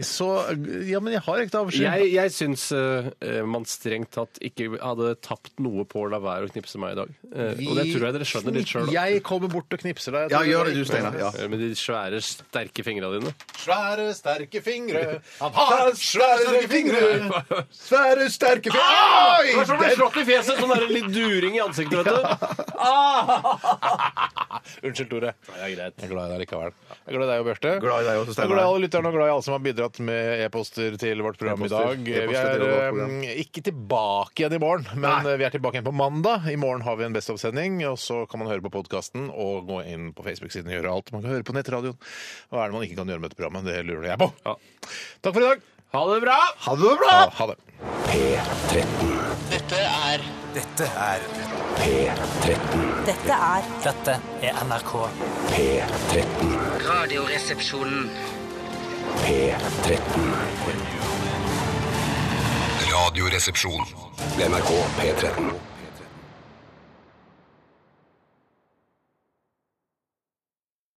Så Ja, men jeg har ekte avsky. Jeg, jeg syns eh, man strengt tatt ikke hadde tapt noe på å la være å knipse meg i dag. Eh, og det tror jeg dere skjønner litt sjøl. Eh, Jeg kommer bort og knipser deg. Ja, gjør det du, Steinar. Ja. Med de svære, sterke fingra dine. Svære, sterke fingre. Han har svære, sterke fingre. Svære, sterke fingre Det er som å bli slått i fjeset! Sånn der litt during i ansiktet, vet du. Ah! Unnskyld, Tore. Ja, greit. Jeg er glad i deg likevel. Jeg er glad i deg og Bjarte. Glad i deg Jeg er også, Steinar. glad i alle lytterne og glad i alle som har bidratt med e-poster til vårt program i E-poster. dag. Vi E-poster er til vårt program. eh, ikke tilbake igjen i morgen, men eh, vi er tilbake igjen på mandag. I morgen har vi en Best of-sending, og så kan man høre på podkasten og gå inn på Facebook-siden og gjøre alt. Man kan høre på nettradioen. Hva er det man ikke kan gjøre med dette programmet? Det lurer jeg på. Takk for i dag. Ha det bra! Ha det bra! Ha det. Dette er Dette er Dette er Dette er NRK. Radioresepsjonen. Radioresepsjon. NRK P13.